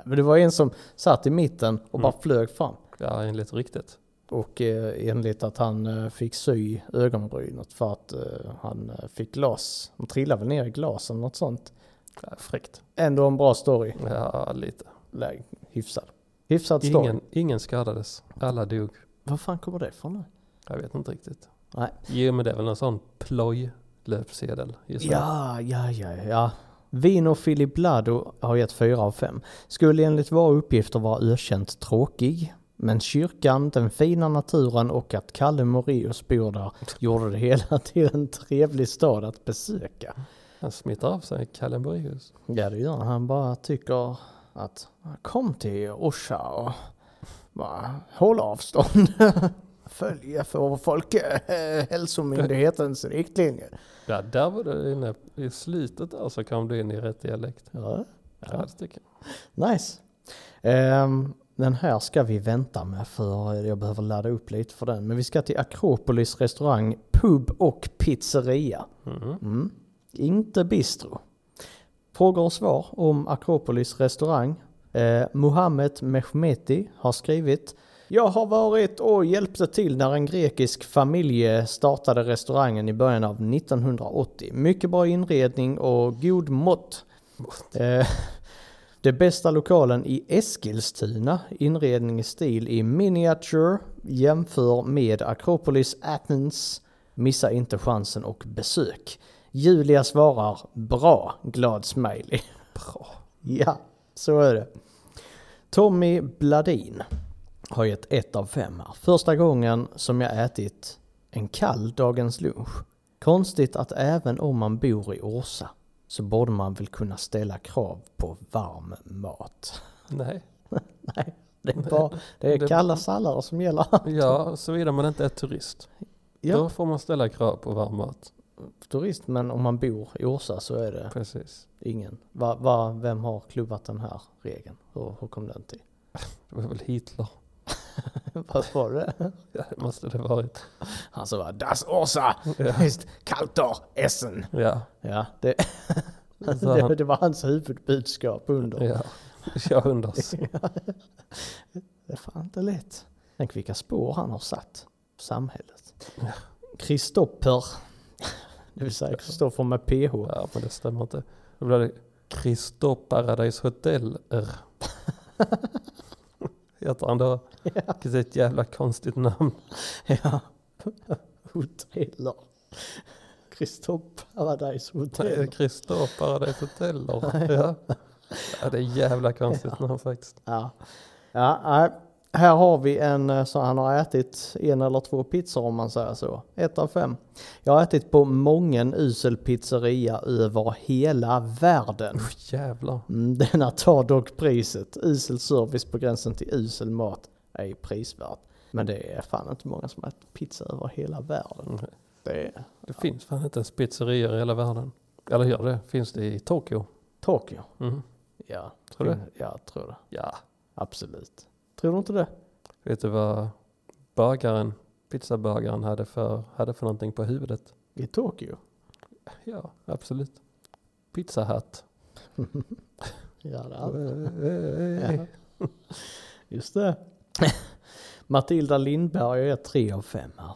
Speaker 3: men det var en som satt i mitten och bara
Speaker 2: Mm.
Speaker 3: flög fram.
Speaker 2: Ja, enligt riktigt.
Speaker 3: Och eh, enligt att han eh, fick sy ögonbrynet för att eh, han eh, fick glas. Han trillade väl ner i glas eller något sånt.
Speaker 2: Ja, fräckt.
Speaker 3: Ändå en bra story.
Speaker 2: Ja, lite.
Speaker 3: Läg- Hyfsad. Hyfsad story.
Speaker 2: Ingen, ingen skadades. Alla dog.
Speaker 3: Vad fan kommer det ifrån nu?
Speaker 2: Jag vet inte riktigt.
Speaker 3: Nej.
Speaker 2: Jo, men det är väl någon sån ploj-löpsedel. gissar jag.
Speaker 3: Ja, ja, ja, ja. Vino Filiblado har gett 4 av 5. Skulle enligt våra uppgifter vara ökänt tråkig. Men kyrkan, den fina naturen och att Kalle Moraeus bor där gjorde det hela till en trevlig stad att besöka.
Speaker 2: Han smittar av sig Kalle Moraeus.
Speaker 3: Ja, det gör han. Han bara tycker att kom till Orsa och bara håll avstånd. Följ för Folkhälsomyndighetens riktlinjer.
Speaker 2: Ja, där var du inne. I slutet där så kom du in i rätt dialekt.
Speaker 3: Ja.
Speaker 2: Ja, det tycker jag.
Speaker 3: Nice. Ehm, den här ska vi vänta med för jag behöver ladda upp lite för den. Men vi ska till Akropolis restaurang, pub och pizzeria.
Speaker 2: Mhm.
Speaker 3: Mm. Inte bistro. Frågor och svar om Akropolis restaurang. Eh, Mohammed Mehmeti har skrivit Jag har varit och hjälpte till när en grekisk familj startade restaurangen i början av 1980. Mycket bra inredning och god mått. Eh, det bästa lokalen i Eskilstuna, inredning i stil i miniature, jämför med Akropolis Athens. Missa inte chansen och besök. Julia svarar bra, glad smiley.
Speaker 2: Bra.
Speaker 3: Ja, så är det. Tommy Bladin har gett ett av fem här. Första gången som jag ätit en kall dagens lunch. Konstigt att även om man bor i Orsa så borde man väl kunna ställa krav på varm mat.
Speaker 2: Nej.
Speaker 3: Nej, det är, bara, det
Speaker 2: Det-
Speaker 3: är kalla sallader som gäller.
Speaker 2: Ja, såvida man inte är turist.
Speaker 3: Ja.
Speaker 2: Då får man ställa krav på varm mat.
Speaker 3: Turist, men om man bor i Orsa så är det
Speaker 2: Precis.
Speaker 3: ingen. Va, va, vem har klubbat den här regeln? Hur, hur kom den till?
Speaker 2: Det var väl Hitler.
Speaker 3: Vad var det?
Speaker 2: Ja, det måste det varit.
Speaker 3: Han sa bara Das Orsa
Speaker 2: Ja.
Speaker 3: ist kalter Essen.
Speaker 2: ja.
Speaker 3: Ja, det,
Speaker 2: Så han-
Speaker 3: det, det var hans huvudbudskap under.
Speaker 2: Ja, jag undras.
Speaker 3: Det är fan inte lätt. Tänk vilka spår han har satt på samhället. Kristopper, det vill säga Kristoffer med PH.
Speaker 2: Ja, men det stämmer inte. Då blir det Christo Paradise Hotel R. Heter han då? Vilket är ett jävla konstigt namn.
Speaker 3: Ja. Hoteller. Kristopper Paradise Hotel.
Speaker 2: Christo Paradise Hotel R. Ja. ja, det är ett jävla konstigt namn faktiskt.
Speaker 3: Ja. Ja, nej. Här har vi en eh, så han har ätit en eller två pizzor om man säger så. Ett av fem. Jag har ätit på många usel pizzeria över hela världen.
Speaker 2: Oh, jävlar.
Speaker 3: Mm, Denna tar dock priset. Usel service på gränsen till usel mat är ju prisvärt. Men det är fan inte många som har ätit pizza över hela världen.
Speaker 2: Nej.
Speaker 3: Det är
Speaker 2: Det finns fan inte ens pizzerior i hela världen. Eller gör det? Finns det i Tokyo?
Speaker 3: Tokyo.
Speaker 2: Mm.
Speaker 3: Ja,
Speaker 2: Tror du?
Speaker 3: Ja, tror det.
Speaker 2: Ja.
Speaker 3: Absolut. Tror du inte det?
Speaker 2: Vet du vad bagaren, pizzabagaren hade för, hade för någonting på huvudet?
Speaker 3: I Tokyo?
Speaker 2: Ja, absolut. Pizzahatt.
Speaker 3: Ja, det hade
Speaker 2: Ja.
Speaker 3: Ja. Just det. Matilda Lindberg är 3 av 5 här.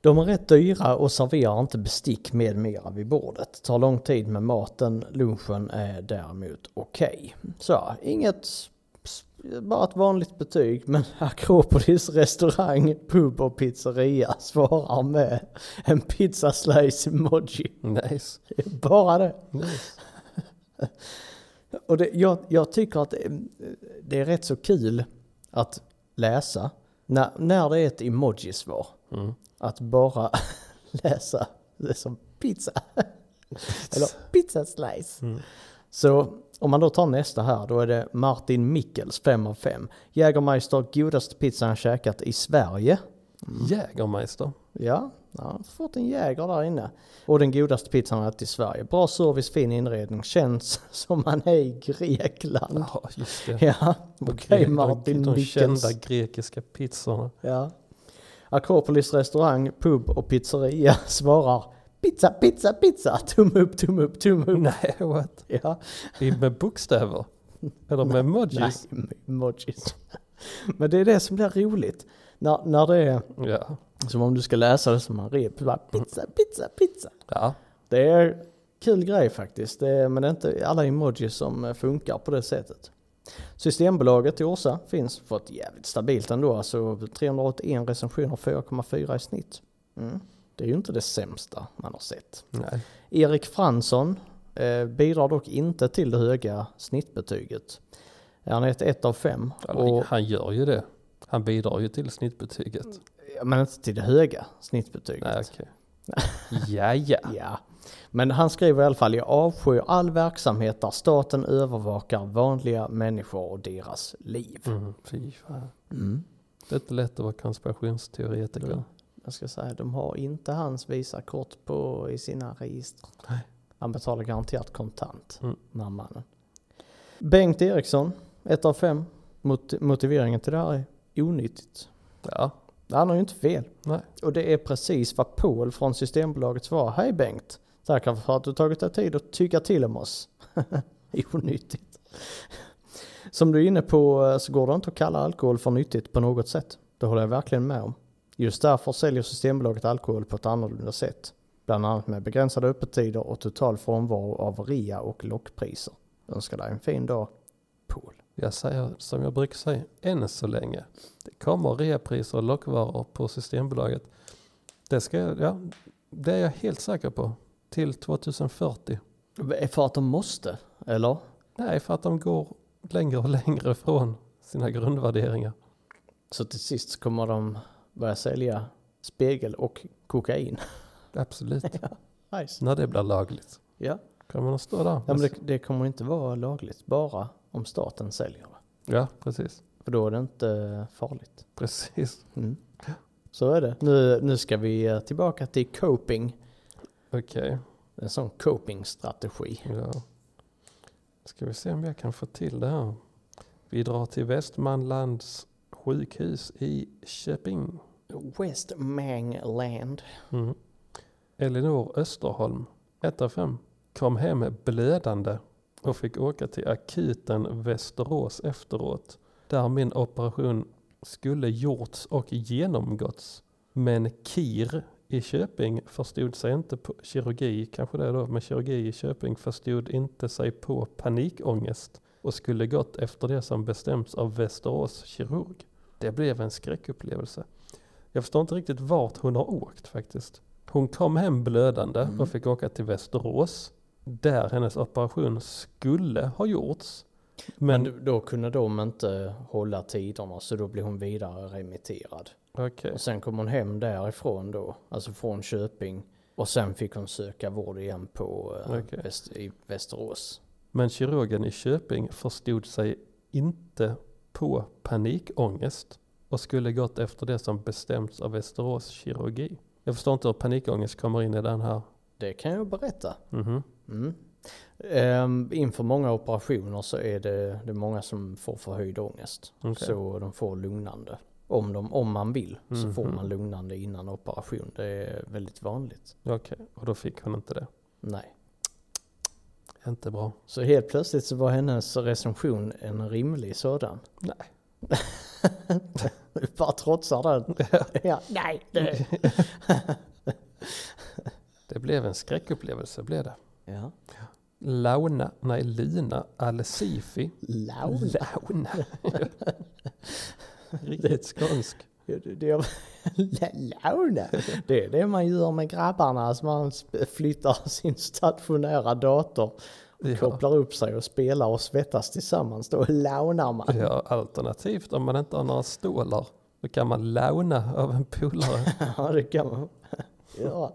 Speaker 3: De är rätt dyra och serverar inte bestick med mera vid bordet. Tar lång tid med maten, lunchen är däremot okej. Så, inget... s- Bara ett vanligt betyg, men Akropolis restaurang, pub och pizzeria svarar med en pizza slice emoji.
Speaker 2: Nice.
Speaker 3: Det är Bara det.
Speaker 2: nice.
Speaker 3: Och det, jag, jag tycker att eh, det är rätt så kul att läsa när, när det är ett emoji-svar.
Speaker 2: Mm.
Speaker 3: Att bara läsa det som pizza. Eller pizza slice.
Speaker 2: Mm.
Speaker 3: Så om man då tar nästa här, då är det Martin Mickels 5 av 5. Jägermeister, godaste pizzan jag käkat i Sverige.
Speaker 2: Jägermeister.
Speaker 3: Ja, ja, han har fått en jäger där inne. Och den godaste pizzan har jag ätit i Sverige. Bra service, fin inredning, känns som man är i Grekland.
Speaker 2: Ja, just det.
Speaker 3: Ja, okej
Speaker 2: Gre- de-
Speaker 3: Martin
Speaker 2: De
Speaker 3: Mikkels.
Speaker 2: kända grekiska pizzorna.
Speaker 3: Ja. Akropolis restaurang, pub och pizzeria svarar pizza, pizza, pizza, tumme upp, tumme upp, tumme upp.
Speaker 2: Nej, what?
Speaker 3: Ja,
Speaker 2: I- Med bokstäver? Eller med emojis?
Speaker 3: nej, emojis. Men det är det som blir roligt. När, när det är
Speaker 2: Ja.
Speaker 3: som om du ska läsa det som en rep, bara pizza, pizza, pizza.
Speaker 2: ja.
Speaker 3: Det är kul grej faktiskt, det är, men det är inte alla emojis som eh, funkar på det sättet. Systembolaget i Orsa finns, fått jävligt stabilt ändå, alltså 381 recensioner, 4,4 i snitt. Mm. Det är ju inte det sämsta man har sett.
Speaker 2: Nej.
Speaker 3: Erik Fransson eh, bidrar dock inte till det höga snittbetyget. Han är ett 1 av 5.
Speaker 2: Eller, han gör ju det. Han bidrar ju till snittbetyget.
Speaker 3: Men inte till det höga snittbetyget.
Speaker 2: Nej, okej. ja, ja.
Speaker 3: Ja. Men han skriver i alla fall, jag avskyr all verksamhet där staten övervakar vanliga människor och deras liv.
Speaker 2: Mm, fy fan.
Speaker 3: Mm.
Speaker 2: Det är inte lätt att vara konspirationsteoretiker.
Speaker 3: Ja. Jag ska säga, de har inte hans Visakort på i sina register.
Speaker 2: Nej.
Speaker 3: Han betalar garanterat kontant,
Speaker 2: Mm.
Speaker 3: den här mannen. Bengt Eriksson, 1 av 5. Mot, motiveringen till det här är onyttigt.
Speaker 2: Ja.
Speaker 3: Han har ju inte fel.
Speaker 2: Nej.
Speaker 3: Och det är precis vad Paul från Systembolaget svarar. Hej Bengt! Tackar för att du tagit dig tid att tycka till om oss. Onyttigt. Som du är inne på eh, så går det inte att kalla alkohol för nyttigt på något sätt. Det håller jag verkligen med om. Just därför säljer Systembolaget alkohol på ett annorlunda sätt. Bland annat med begränsade öppettider och total frånvaro av rea och lockpriser. Önskar dig en fin dag, Paul.
Speaker 2: Jag säger som jag brukar säga, än så länge. Det kommer reapriser och lockvaror på Systembolaget. Det, ska jag, ja, det är jag helt säker på. Till 2040.
Speaker 3: För att de måste, eller?
Speaker 2: Nej, för att de går längre och längre från sina grundvärderingar.
Speaker 3: Så till sist så kommer de börja sälja spegel och kokain.
Speaker 2: Absolut.
Speaker 3: Nice.
Speaker 2: När det blir lagligt.
Speaker 3: Ja,
Speaker 2: Kommer de stå där?
Speaker 3: ja men det, det kommer inte vara lagligt bara om staten säljer det.
Speaker 2: ja precis.
Speaker 3: För då är det inte farligt.
Speaker 2: Precis.
Speaker 3: Mm. Så är det. Nu, nu ska vi eh, tillbaka till coping.
Speaker 2: Okej.
Speaker 3: En sån copingstrategi.
Speaker 2: Ja. Ska vi se om jag kan få till det här. Vi drar till Västmanlands sjukhus i Köping.
Speaker 3: West Mangland.
Speaker 2: Mm. Elinor Österholm, 1 av 5, kom hem blödande och fick åka till akuten Västerås efteråt. Där min operation skulle gjorts och genomgåtts. Men KIR i Köping förstod sig inte på kirurgi, kanske det då, men kirurgi i Köping förstod inte sig på panikångest och skulle gått efter det som bestämts av Västerås kirurg. Det blev en skräckupplevelse. Jag förstår inte riktigt vart hon har åkt faktiskt. Hon kom hem blödande
Speaker 3: Mm.
Speaker 2: och fick åka till Västerås där hennes operation skulle ha gjorts.
Speaker 3: Men
Speaker 2: Men,
Speaker 3: då- då kunde de inte hålla tiderna så då blev hon vidare remitterad.
Speaker 2: okej.
Speaker 3: Och sen kom hon hem därifrån då, alltså från Köping. Och sen fick hon söka vård igen på eh,
Speaker 2: Okej.
Speaker 3: väst, i Västerås.
Speaker 2: Men kirurgen i Köping förstod sig inte på panikångest och skulle gått efter det som bestämts av Västerås kirurgi. Jag förstår inte hur panikångest kommer in i den här.
Speaker 3: Det kan jag berätta.
Speaker 2: Mhm.
Speaker 3: Mm. Ehm, inför många operationer så är det, det är många som får förhöjd ångest.
Speaker 2: Okej.
Speaker 3: Så de får lugnande. Om, de, om man vill så får
Speaker 2: Mhm.
Speaker 3: man lugnande innan operation. Det är väldigt vanligt.
Speaker 2: Okej, och då fick hon inte det.
Speaker 3: Nej.
Speaker 2: Inte bra.
Speaker 3: Så helt plötsligt så var hennes recension en rimlig sådan.
Speaker 2: Nej.
Speaker 3: Du bara trotsar den. ja, nej. Det.
Speaker 2: Det blev en skräckupplevelse blev det.
Speaker 3: Ja.
Speaker 2: Launa, nej Lina Al-Sifi.
Speaker 3: Loud.
Speaker 2: Launa. Riktigt skånsk.
Speaker 3: Det, det, Launa. det är det man gör med grabbarna. Alltså man sp- flyttar sin stationära dator,
Speaker 2: Ja,
Speaker 3: kopplar upp sig och spelar och svettas tillsammans. Då launar man.
Speaker 2: ja, alternativt om man inte har några stålar. Då kan man launa av en polare.
Speaker 3: Ja, det kan man göra.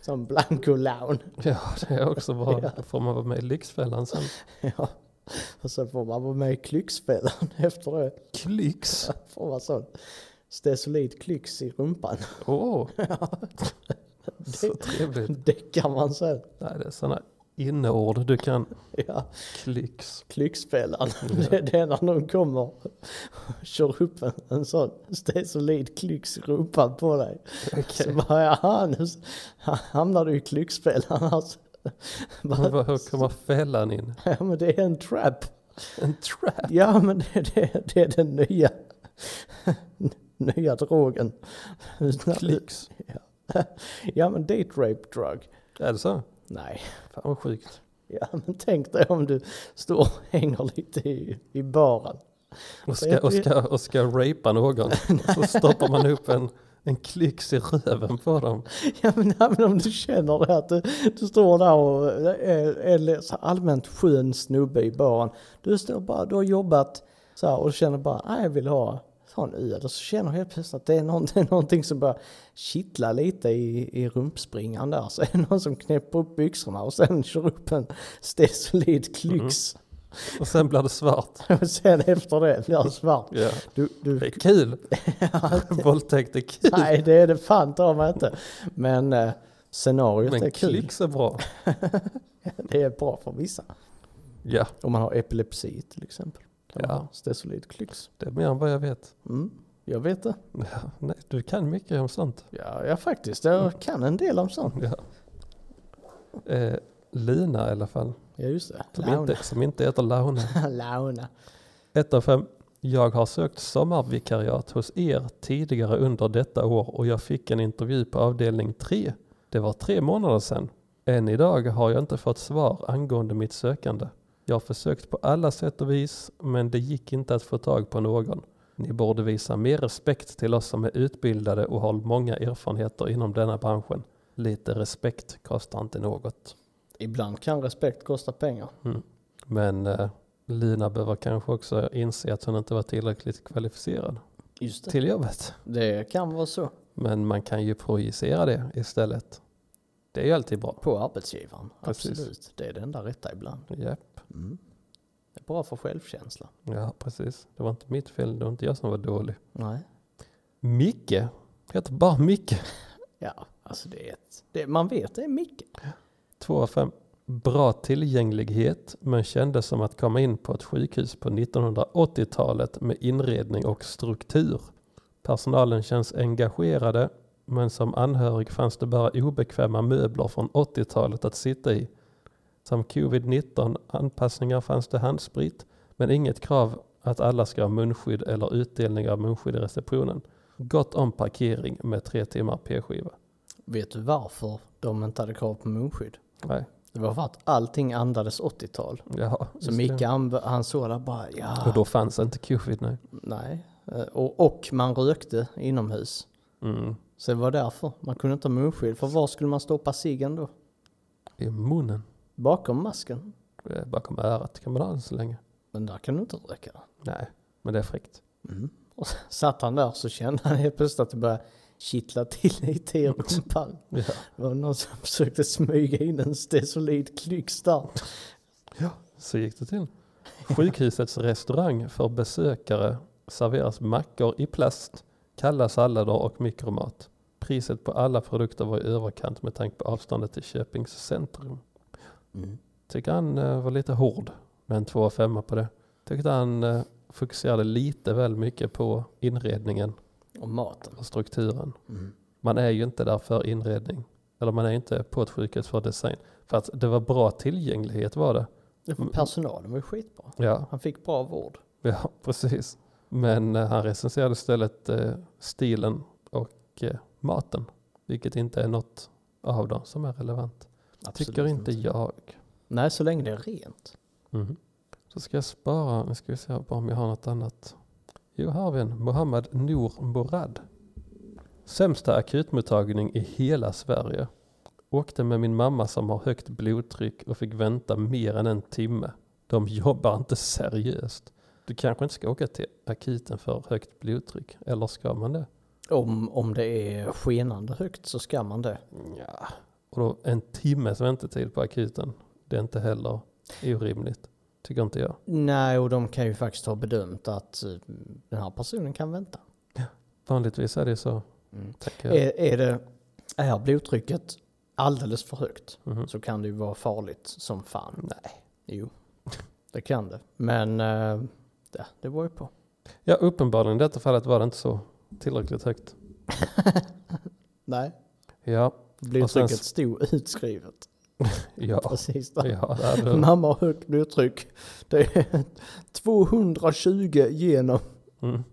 Speaker 3: Som Blanco Laun.
Speaker 2: Ja, det är också bra. Då får man vara med i Lyxfällan sen.
Speaker 3: Ja. Och så får man vara med i Klyxfällan efter det.
Speaker 2: Klyx!
Speaker 3: Får man sån stesolid klyx i rumpan.
Speaker 2: Åh! Så trevligt.
Speaker 3: Däckar man sen.
Speaker 2: Nej, det är sådana inneord du kan.
Speaker 3: Ja.
Speaker 2: Klyx.
Speaker 3: Klyxfällan. Det, det är när någon kommer och kör upp en, en sån stesolid klyx i rumpan på dig. Så bara, jaha, nu s- hamnar du i klyxfällan alltså.
Speaker 2: Men
Speaker 3: Bara,
Speaker 2: vad- hur kommer fällan in?
Speaker 3: ja men det är en trap.
Speaker 2: En trap?
Speaker 3: Ja men det, det, det är den nya, nya drogen.
Speaker 2: Klyx?
Speaker 3: Ja men date rape drug.
Speaker 2: Är det så?
Speaker 3: Nej.
Speaker 2: Fan vad sjukt.
Speaker 3: Ja men tänk dig om du står och hänger lite i, i baren.
Speaker 2: Och ska, och ska, och ska rapa någon. Och så stoppar man upp en, en klyx i röven på dem.
Speaker 3: Ja men även om du känner det att du, du står där och är, är så allmänt skön snubbe i baren. Du står bara, du har jobbat så här, och känner bara, "Ah, jag vill ha sån öl. Och så känner du helt plötsligt att det är någonting, någonting som börjar kittla lite i, i rumpspringan där. Så är det någon som knäpper upp byxorna och sen kör upp en stesolid klyx.
Speaker 2: Och sen blir det svart.
Speaker 3: Och sen efter det blir det svart.
Speaker 2: Ja.
Speaker 3: Du, du
Speaker 2: Det är kul. Våldtäkt är kul.
Speaker 3: Nej, det är det fan ta mig inte. Men eh, scenariot är
Speaker 2: Men
Speaker 3: kul.
Speaker 2: klyx är bra.
Speaker 3: Det är bra för vissa.
Speaker 2: Ja,
Speaker 3: Om man har epilepsi till exempel. Kan man
Speaker 2: Ja.
Speaker 3: ha Stesolid klyx.
Speaker 2: det är mer än vad jag vet.
Speaker 3: Mm. Jag vet det.
Speaker 2: Ja, nej, du kan mycket om sånt.
Speaker 3: Ja, ja faktiskt. Jag
Speaker 2: Mm.
Speaker 3: kan en del om sånt.
Speaker 2: Ja. Eh, Lina i alla fall.
Speaker 3: Ja, just det.
Speaker 2: Som inte, som inte heter Launa.
Speaker 3: Launa.
Speaker 2: 1 av 5. Jag har sökt sommarvikariat hos er tidigare under detta år och jag fick en intervju på avdelning 3. Det var tre månader sedan. Än idag har jag inte fått svar angående mitt sökande. Jag har försökt på alla sätt och vis men det gick inte att få tag på någon. Ni borde visa mer respekt till oss som är utbildade och har många erfarenheter inom denna branschen. Lite respekt kostar inte något.
Speaker 3: Ibland kan respekt kosta pengar.
Speaker 2: Men eh, Lina behöver kanske också inse att hon inte var tillräckligt kvalificerad.
Speaker 3: Just det.
Speaker 2: till jobbet.
Speaker 3: Det kan vara så.
Speaker 2: Men man kan ju projicera det istället. Det är ju alltid bra.
Speaker 3: På arbetsgivaren.
Speaker 2: Precis.
Speaker 3: Absolut. Det är det enda rätta ibland.
Speaker 2: Japp.
Speaker 3: Mm. Det är bra för självkänsla.
Speaker 2: Ja, precis. Det var inte mitt fel, det var inte jag som var dålig.
Speaker 3: Nej.
Speaker 2: Micke. Heter bara Micke.
Speaker 3: Ja, alltså det är ett... Det, man vet det är mycket.
Speaker 2: 2 av 5. Bra tillgänglighet, men kändes som att komma in på ett sjukhus på 1980-talet med inredning och struktur. Personalen känns engagerade, men som anhörig fanns det bara obekväma möbler från 80-talet att sitta i. Som covid-19 anpassningar fanns det handsprit, men inget krav att alla ska ha munskydd eller utdelning av munskydd i receptionen. Gott om parkering med tre timmar p-skiva.
Speaker 3: Vet du varför de inte hade krav på munskydd?
Speaker 2: Nej,
Speaker 3: Det var för att allting andades 80-tal.
Speaker 2: jaha.
Speaker 3: Så
Speaker 2: just det.
Speaker 3: Micke han, han såg där bara ja,
Speaker 2: Och då fanns inte covid, nej.
Speaker 3: nej. Eh, Och, och man rökte inomhus.
Speaker 2: Mm.
Speaker 3: Så det var därför. Man kunde inte ha munskydd. För var skulle man stoppa ciggen då?
Speaker 2: I munnen,
Speaker 3: Bakom masken.
Speaker 2: eh, bakom örat kan man ha den så länge.
Speaker 3: Men där kan du inte röka. Mm.
Speaker 2: Nej, men det är fräckt.
Speaker 3: Och s- satt han där så kände han helt plötsligt att det började kittla till lite i rumpan.
Speaker 2: Ja.
Speaker 3: Det var någon som försökte smyga in en stesolid klyx där.
Speaker 2: Så gick det till. Sjukhusets restaurang för besökare serveras mackor i plast, kalla sallader och mikromat. Priset på alla produkter var i överkant med tanke på avståndet till Köpings centrum.
Speaker 3: Mm.
Speaker 2: Tycker han eh, var lite hård med en 2 femma på det. Tyckte han eh, fokuserade lite väl mycket på inredningen
Speaker 3: Och maten.
Speaker 2: och strukturen.
Speaker 3: Mm.
Speaker 2: Man är ju inte där för inredning. Eller man är inte på ett sjukhus för design. För att det var bra tillgänglighet var det.
Speaker 3: Ja,
Speaker 2: Mm.
Speaker 3: för Personalen var ju skitbra.
Speaker 2: Ja,
Speaker 3: Han fick bra vård.
Speaker 2: ja precis. Men eh, han recenserade istället eh, stilen och eh, maten. Vilket inte är något av dem som är relevant. Tycker
Speaker 3: Absolut
Speaker 2: inte jag.
Speaker 3: Nej, så länge det är rent.
Speaker 2: Mm. Så ska jag spara, nu ska vi se bara om jag har något annat. Jo, här har vi en. Mohammad Nour Morad. Sämsta akutmottagning i hela Sverige. Åkte med min mamma som har högt blodtryck och fick vänta mer än en timme. De jobbar inte seriöst. Du kanske inte ska åka till akuten för högt blodtryck, eller ska man det?
Speaker 3: Om, om det är skenande högt så ska man det.
Speaker 2: Ja. Och då en timmes väntetid på akuten, det är inte heller orimligt. Tycker inte jag.
Speaker 3: Nej, och de kan ju faktiskt ha bedömt att eh, den här personen kan vänta.
Speaker 2: Vanligtvis är det så.
Speaker 3: Mm.
Speaker 2: Tackar.
Speaker 3: Är, är, det, är blodtrycket alldeles för högt
Speaker 2: Mhm.
Speaker 3: så kan det ju vara farligt som fan.
Speaker 2: Nej.
Speaker 3: Jo, det kan det. Men eh, det, det var ju på.
Speaker 2: Ja, uppenbarligen i detta fallet var det inte så tillräckligt högt.
Speaker 3: Nej,
Speaker 2: Ja,
Speaker 3: blodtrycket
Speaker 2: sen-
Speaker 3: stod utskrivet.
Speaker 2: ja,
Speaker 3: Precis där.
Speaker 2: ja, det hade du.
Speaker 3: Mamma har högt blodtryck. Det är 220 genom.
Speaker 2: Mm.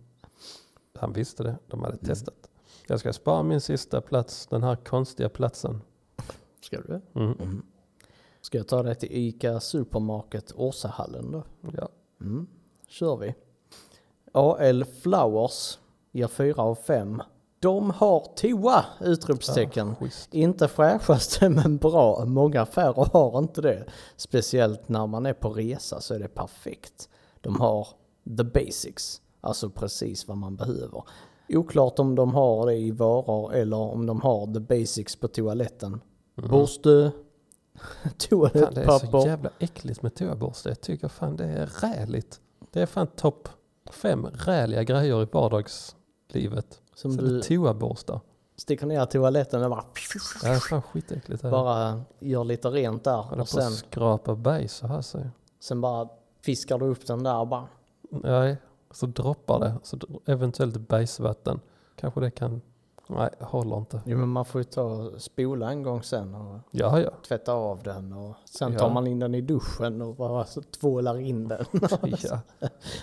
Speaker 2: Han visste det, de hade testat. Jag ska spara min sista plats, den här konstiga platsen.
Speaker 3: Ska du?
Speaker 2: Mm.
Speaker 3: Ska jag ta det till ICA Supermarket Åsahallen då?
Speaker 2: Ja.
Speaker 3: Mm. Kör vi. AL Flowers ger 4 av 5. De har toa! Utropstecken.
Speaker 2: Ja, schysst.
Speaker 3: Inte fräschaste men bra. Många affärer har inte det. Speciellt när man är på resa så är det perfekt. De har the basics, alltså precis vad man behöver. Oklart om de har det i varor eller om de har the basics på toaletten. Borste,
Speaker 2: Mm. Fan, det är så
Speaker 3: toalettpapper.
Speaker 2: jävla äckligt med toaborste. Jag tycker fan det är räligt. Det är fan topp fem räliga grejer i vardagslivet.
Speaker 3: Som
Speaker 2: Så
Speaker 3: du
Speaker 2: det toaborstar.
Speaker 3: sticker ner i toaletten och bara,
Speaker 2: Det är fan skitäckligt. det här.
Speaker 3: bara gör lite rent där.
Speaker 2: Håller
Speaker 3: Och
Speaker 2: på
Speaker 3: sen,
Speaker 2: att skrapa bajs så här sig.
Speaker 3: sen bara fiskar du upp den där och bara.
Speaker 2: Nej, så droppar det. Så dro- eventuellt bajsvatten. Kanske det kan... Nej, håller inte.
Speaker 3: Jo men man får ju ta och spola en gång sen. Och,
Speaker 2: Ja, ja.
Speaker 3: tvätta av den och sen
Speaker 2: Ja.
Speaker 3: tar man in den i duschen och bara så tvålar in den
Speaker 2: ja.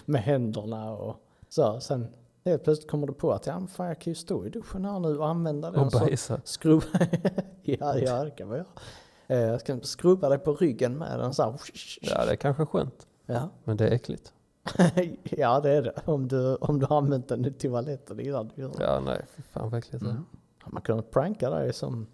Speaker 3: med händerna och så. Sen helt plötsligt kommer du på att ja, men fan, jag kan ju stå i duschen här nu och använda den.
Speaker 2: Och
Speaker 3: så
Speaker 2: bajsa.
Speaker 3: Skrubba, ja, ja det kan man göra. Eh, Jag ska skrubba dig på ryggen med den så här.
Speaker 2: Ja, det är kanske skönt.
Speaker 3: Ja.
Speaker 2: Men det är äckligt.
Speaker 3: ja, det är det. Om du, om du har använt den i toaletten innan du gör det.
Speaker 2: Ja, nej. Fy fan vad äckligt det är.
Speaker 3: Mm. Man kunde pranka dig som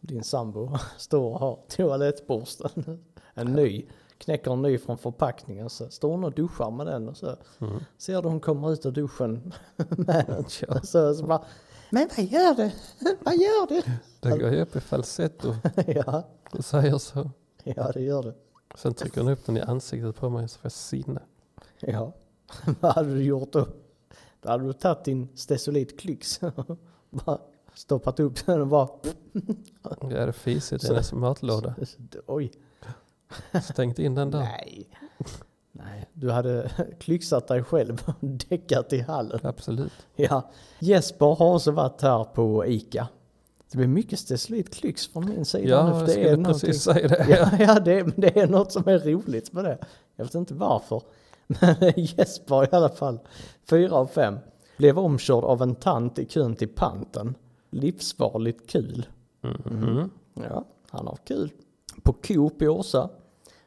Speaker 3: din sambo står och har toalettborsten. En ny. Knäcker en ny från förpackningen så står hon och duschar med den och så
Speaker 2: Mm.
Speaker 3: ser du hon kommer ut ur duschen med den.
Speaker 2: Ja,
Speaker 3: Så, så bara, men vad gör du? Vad gör du?
Speaker 2: det går ju upp i falsetto
Speaker 3: ja,
Speaker 2: och säger så.
Speaker 3: ja det gör du.
Speaker 2: Sen trycker hon upp den i ansiktet på mig så får jag sinne.
Speaker 3: Ja. vad hade du gjort då? Då hade du tagit din stesolit klyx och bara stoppat upp den och bara
Speaker 2: Ja, det är fisigt i hennes matlåda.
Speaker 3: oj.
Speaker 2: Stängt in den där.
Speaker 3: Nej. Nej, du hade klyxat dig själv och däckat i hallen.
Speaker 2: Absolut.
Speaker 3: Ja. Jesper har också varit här på ICA. Det blir mycket steslit klyx från min sida nu,
Speaker 2: Ja,
Speaker 3: för
Speaker 2: jag
Speaker 3: det är
Speaker 2: skulle
Speaker 3: någonting.
Speaker 2: precis säga det.
Speaker 3: Ja, ja det, men det är något som är roligt med det. Jag vet inte varför. Men Jesper i alla fall, fyra av fem, blev omkörd av en tant i kön till panten. Livsfarligt kul.
Speaker 2: Mhm.
Speaker 3: Ja, han har kul. På Coop i Åsa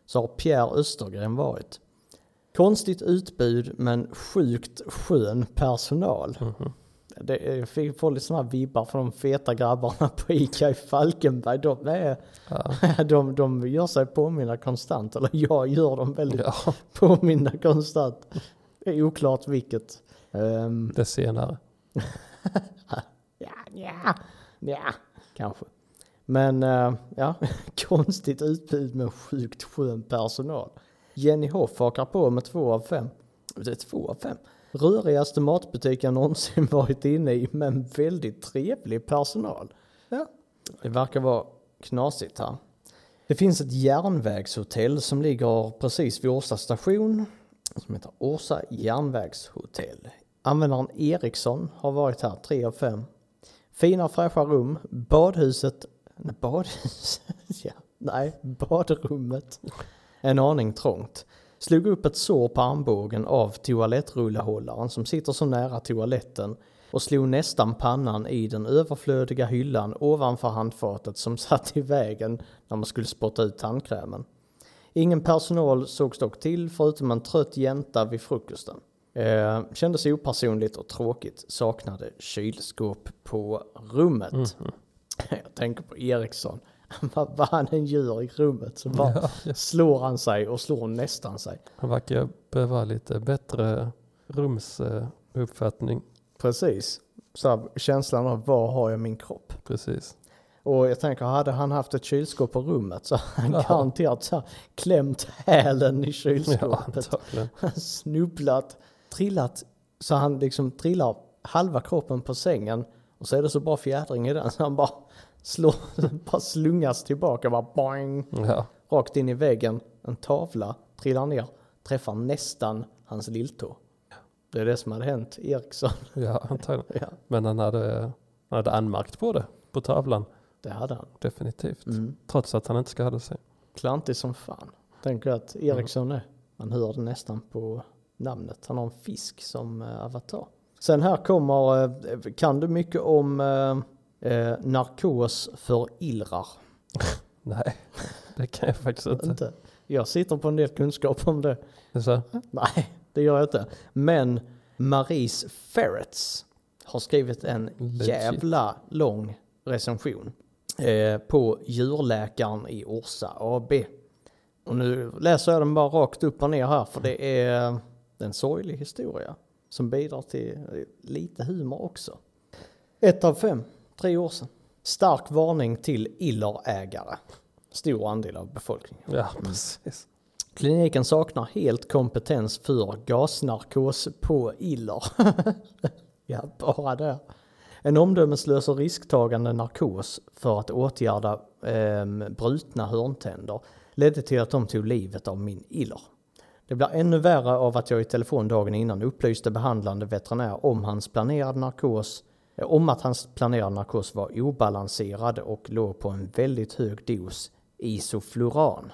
Speaker 3: så har Pierre Östergren varit. Konstigt utbud men sjukt skön personal. Det är, jag fick få lite sådana vibbar från de feta grabbarna på ICA i Falkenberg. De, är,
Speaker 2: Ja.
Speaker 3: de, de gör sig påminna konstant, eller jag gör dem väldigt
Speaker 2: ja,
Speaker 3: påminna konstant. Det är oklart vilket. Ehm,
Speaker 2: det senare.
Speaker 3: Ja, ja, ja, kanske. Men eh, ja, konstigt utbud med sjukt skön personal. Jenny Hoff hakar på med två av fem. Det är två av fem. Rörigaste matbutik jag någonsin varit inne i, men väldigt trevlig personal. Ja. Det verkar vara knasigt här. Det finns ett järnvägshotell som ligger precis vid Årsta station som heter Åsa järnvägshotell. Användaren Eriksson har varit här tre av fem. Fina fräscha rum, badhuset, nej badhuset, ja, nej, badrummet. En aning trångt. Slog upp ett sår på armbågen av toalettrullehållaren som sitter så nära toaletten och slog nästan pannan i den överflödiga hyllan ovanför handfatet som satt i vägen när man skulle spotta ut tandkrämen. Ingen personal sågs dock till förutom en trött jänta vid frukosten. Eh, kändes opersonligt och tråkigt, saknade kylskåp på rummet.
Speaker 2: Mm,
Speaker 3: Jag tänker på Eriksson. Vad vad han än gör i rummet så bara slår han sig och slår nästan sig.
Speaker 2: Han verkar behöva lite bättre rumsuppfattning.
Speaker 3: Precis. Så här, känslan av var har jag min kropp?
Speaker 2: Precis.
Speaker 3: Och jag tänker, hade han haft ett kylskåp på rummet så hade han garanterat så här, klämt hälen i
Speaker 2: Ja,
Speaker 3: kylskåpet.
Speaker 2: antagligen.
Speaker 3: snubblat, trillat så han liksom trillar halva kroppen på sängen och så är det så bra fjädring i den så han bara, slår, bara slungas tillbaka, bara boing,
Speaker 2: Ja.
Speaker 3: rakt in i väggen. En tavla trillar ner, träffar nästan hans lilltå. Det är det som hade hänt Eriksson.
Speaker 2: Ja, antagligen.
Speaker 3: Ja,
Speaker 2: Men han hade, han hade anmärkt på det på tavlan.
Speaker 3: det hade han.
Speaker 2: Definitivt.
Speaker 3: Mm.
Speaker 2: Trots att han inte skadade sig.
Speaker 3: Klantig som fan. Tänker att Eriksson är. Man hör det nästan på namnet. Han har en fisk som eh, avatar. Sen här kommer, eh, kan du mycket om eh, eh, narkos för illrar?
Speaker 2: Nej, det kan jag faktiskt inte.
Speaker 3: Inte. Jag sitter på en del kunskap om det.
Speaker 2: Det är Så, här,
Speaker 3: Nej, det gör jag inte. Men Maris Ferrets har skrivit en
Speaker 2: Legit.
Speaker 3: jävla lång recension eh, på djurläkaren i Orsa AB. Och nu läser jag den bara rakt upp och ner här för det är en sorglig historia som bidrar till eh, lite humor också. Ett av fem, tre år sedan. Stark varning till illerägare. Stor andel av befolkningen.
Speaker 2: ja, precis.
Speaker 3: Kliniken saknar helt kompetens för gasnarkos på iller. ja, bara det. En omdömeslös och risktagande narkos för att åtgärda ehm, brutna hörntänder ledde till att de tog livet av min iller. Det blir ännu värre av att jag i telefon dagen innan upplyste behandlande veterinär om hans planerade narkos eh, om att hans planerade narkos var obalanserad och låg på en väldigt hög dos isofluran.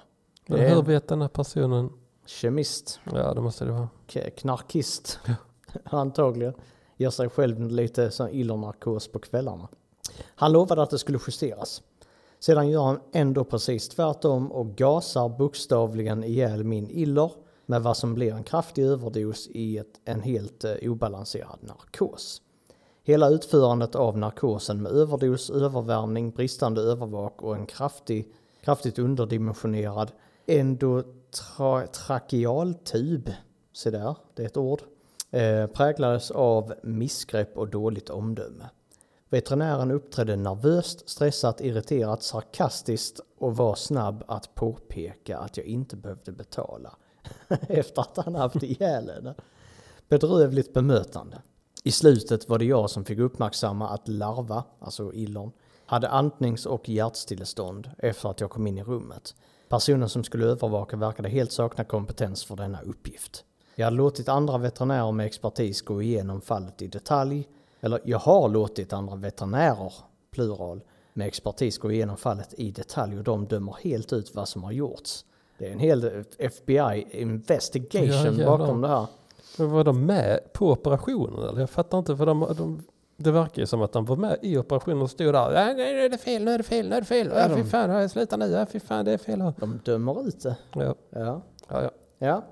Speaker 2: Men
Speaker 3: Det är-
Speaker 2: hur vet den här personen?
Speaker 3: Kemist,
Speaker 2: Ja, det måste det vara.
Speaker 3: k- knarkist, antagligen. Gör sig själv lite sån illernarkos på kvällarna. Han lovade att det skulle justeras. Sedan gör han ändå precis tvärtom och gasar bokstavligen ihjäl min iller med vad som blir en kraftig överdos i ett, en helt eh, obalanserad narkos. Hela utförandet av narkosen med överdos, övervärmning, bristande övervak och en kraftig, kraftigt underdimensionerad endotrakealtub, se där, det är ett ord, eh, präglades av missgrepp och dåligt omdöme. Veterinären uppträdde nervöst, stressat, irriterat, sarkastiskt och var snabb att påpeka att jag inte behövde betala efter att han haft ihjäl henne. Bedrövligt bemötande. I slutet var det jag som fick uppmärksamma att larva, alltså illon, hade andnings och hjärtstillestånd efter att jag kom in i rummet. Personen som skulle övervaka verkade helt sakna kompetens för denna uppgift. Jag hade låtit andra veterinärer med expertis gå igenom fallet i detalj. Eller jag har låtit andra veterinärer, plural, med expertis gå igenom fallet i detalj och de dömer helt ut vad som har gjorts. Det är en hel FBI investigation
Speaker 2: Ja, jävlar.
Speaker 3: bakom det här.
Speaker 2: Men var de med på operationen? Eller? Jag fattar inte. För de, de, det verkar ju som att de var med i operationen och stod där. "Ja, Nej, nu är det fel, nu är det fel, nu är det fel. Ja, fy fan, ja, sluta nu. Ja, fy fan, det är fel. här."
Speaker 3: De dömer ut det.
Speaker 2: Ja,
Speaker 3: Ja.
Speaker 2: ja, ja.
Speaker 3: Ja.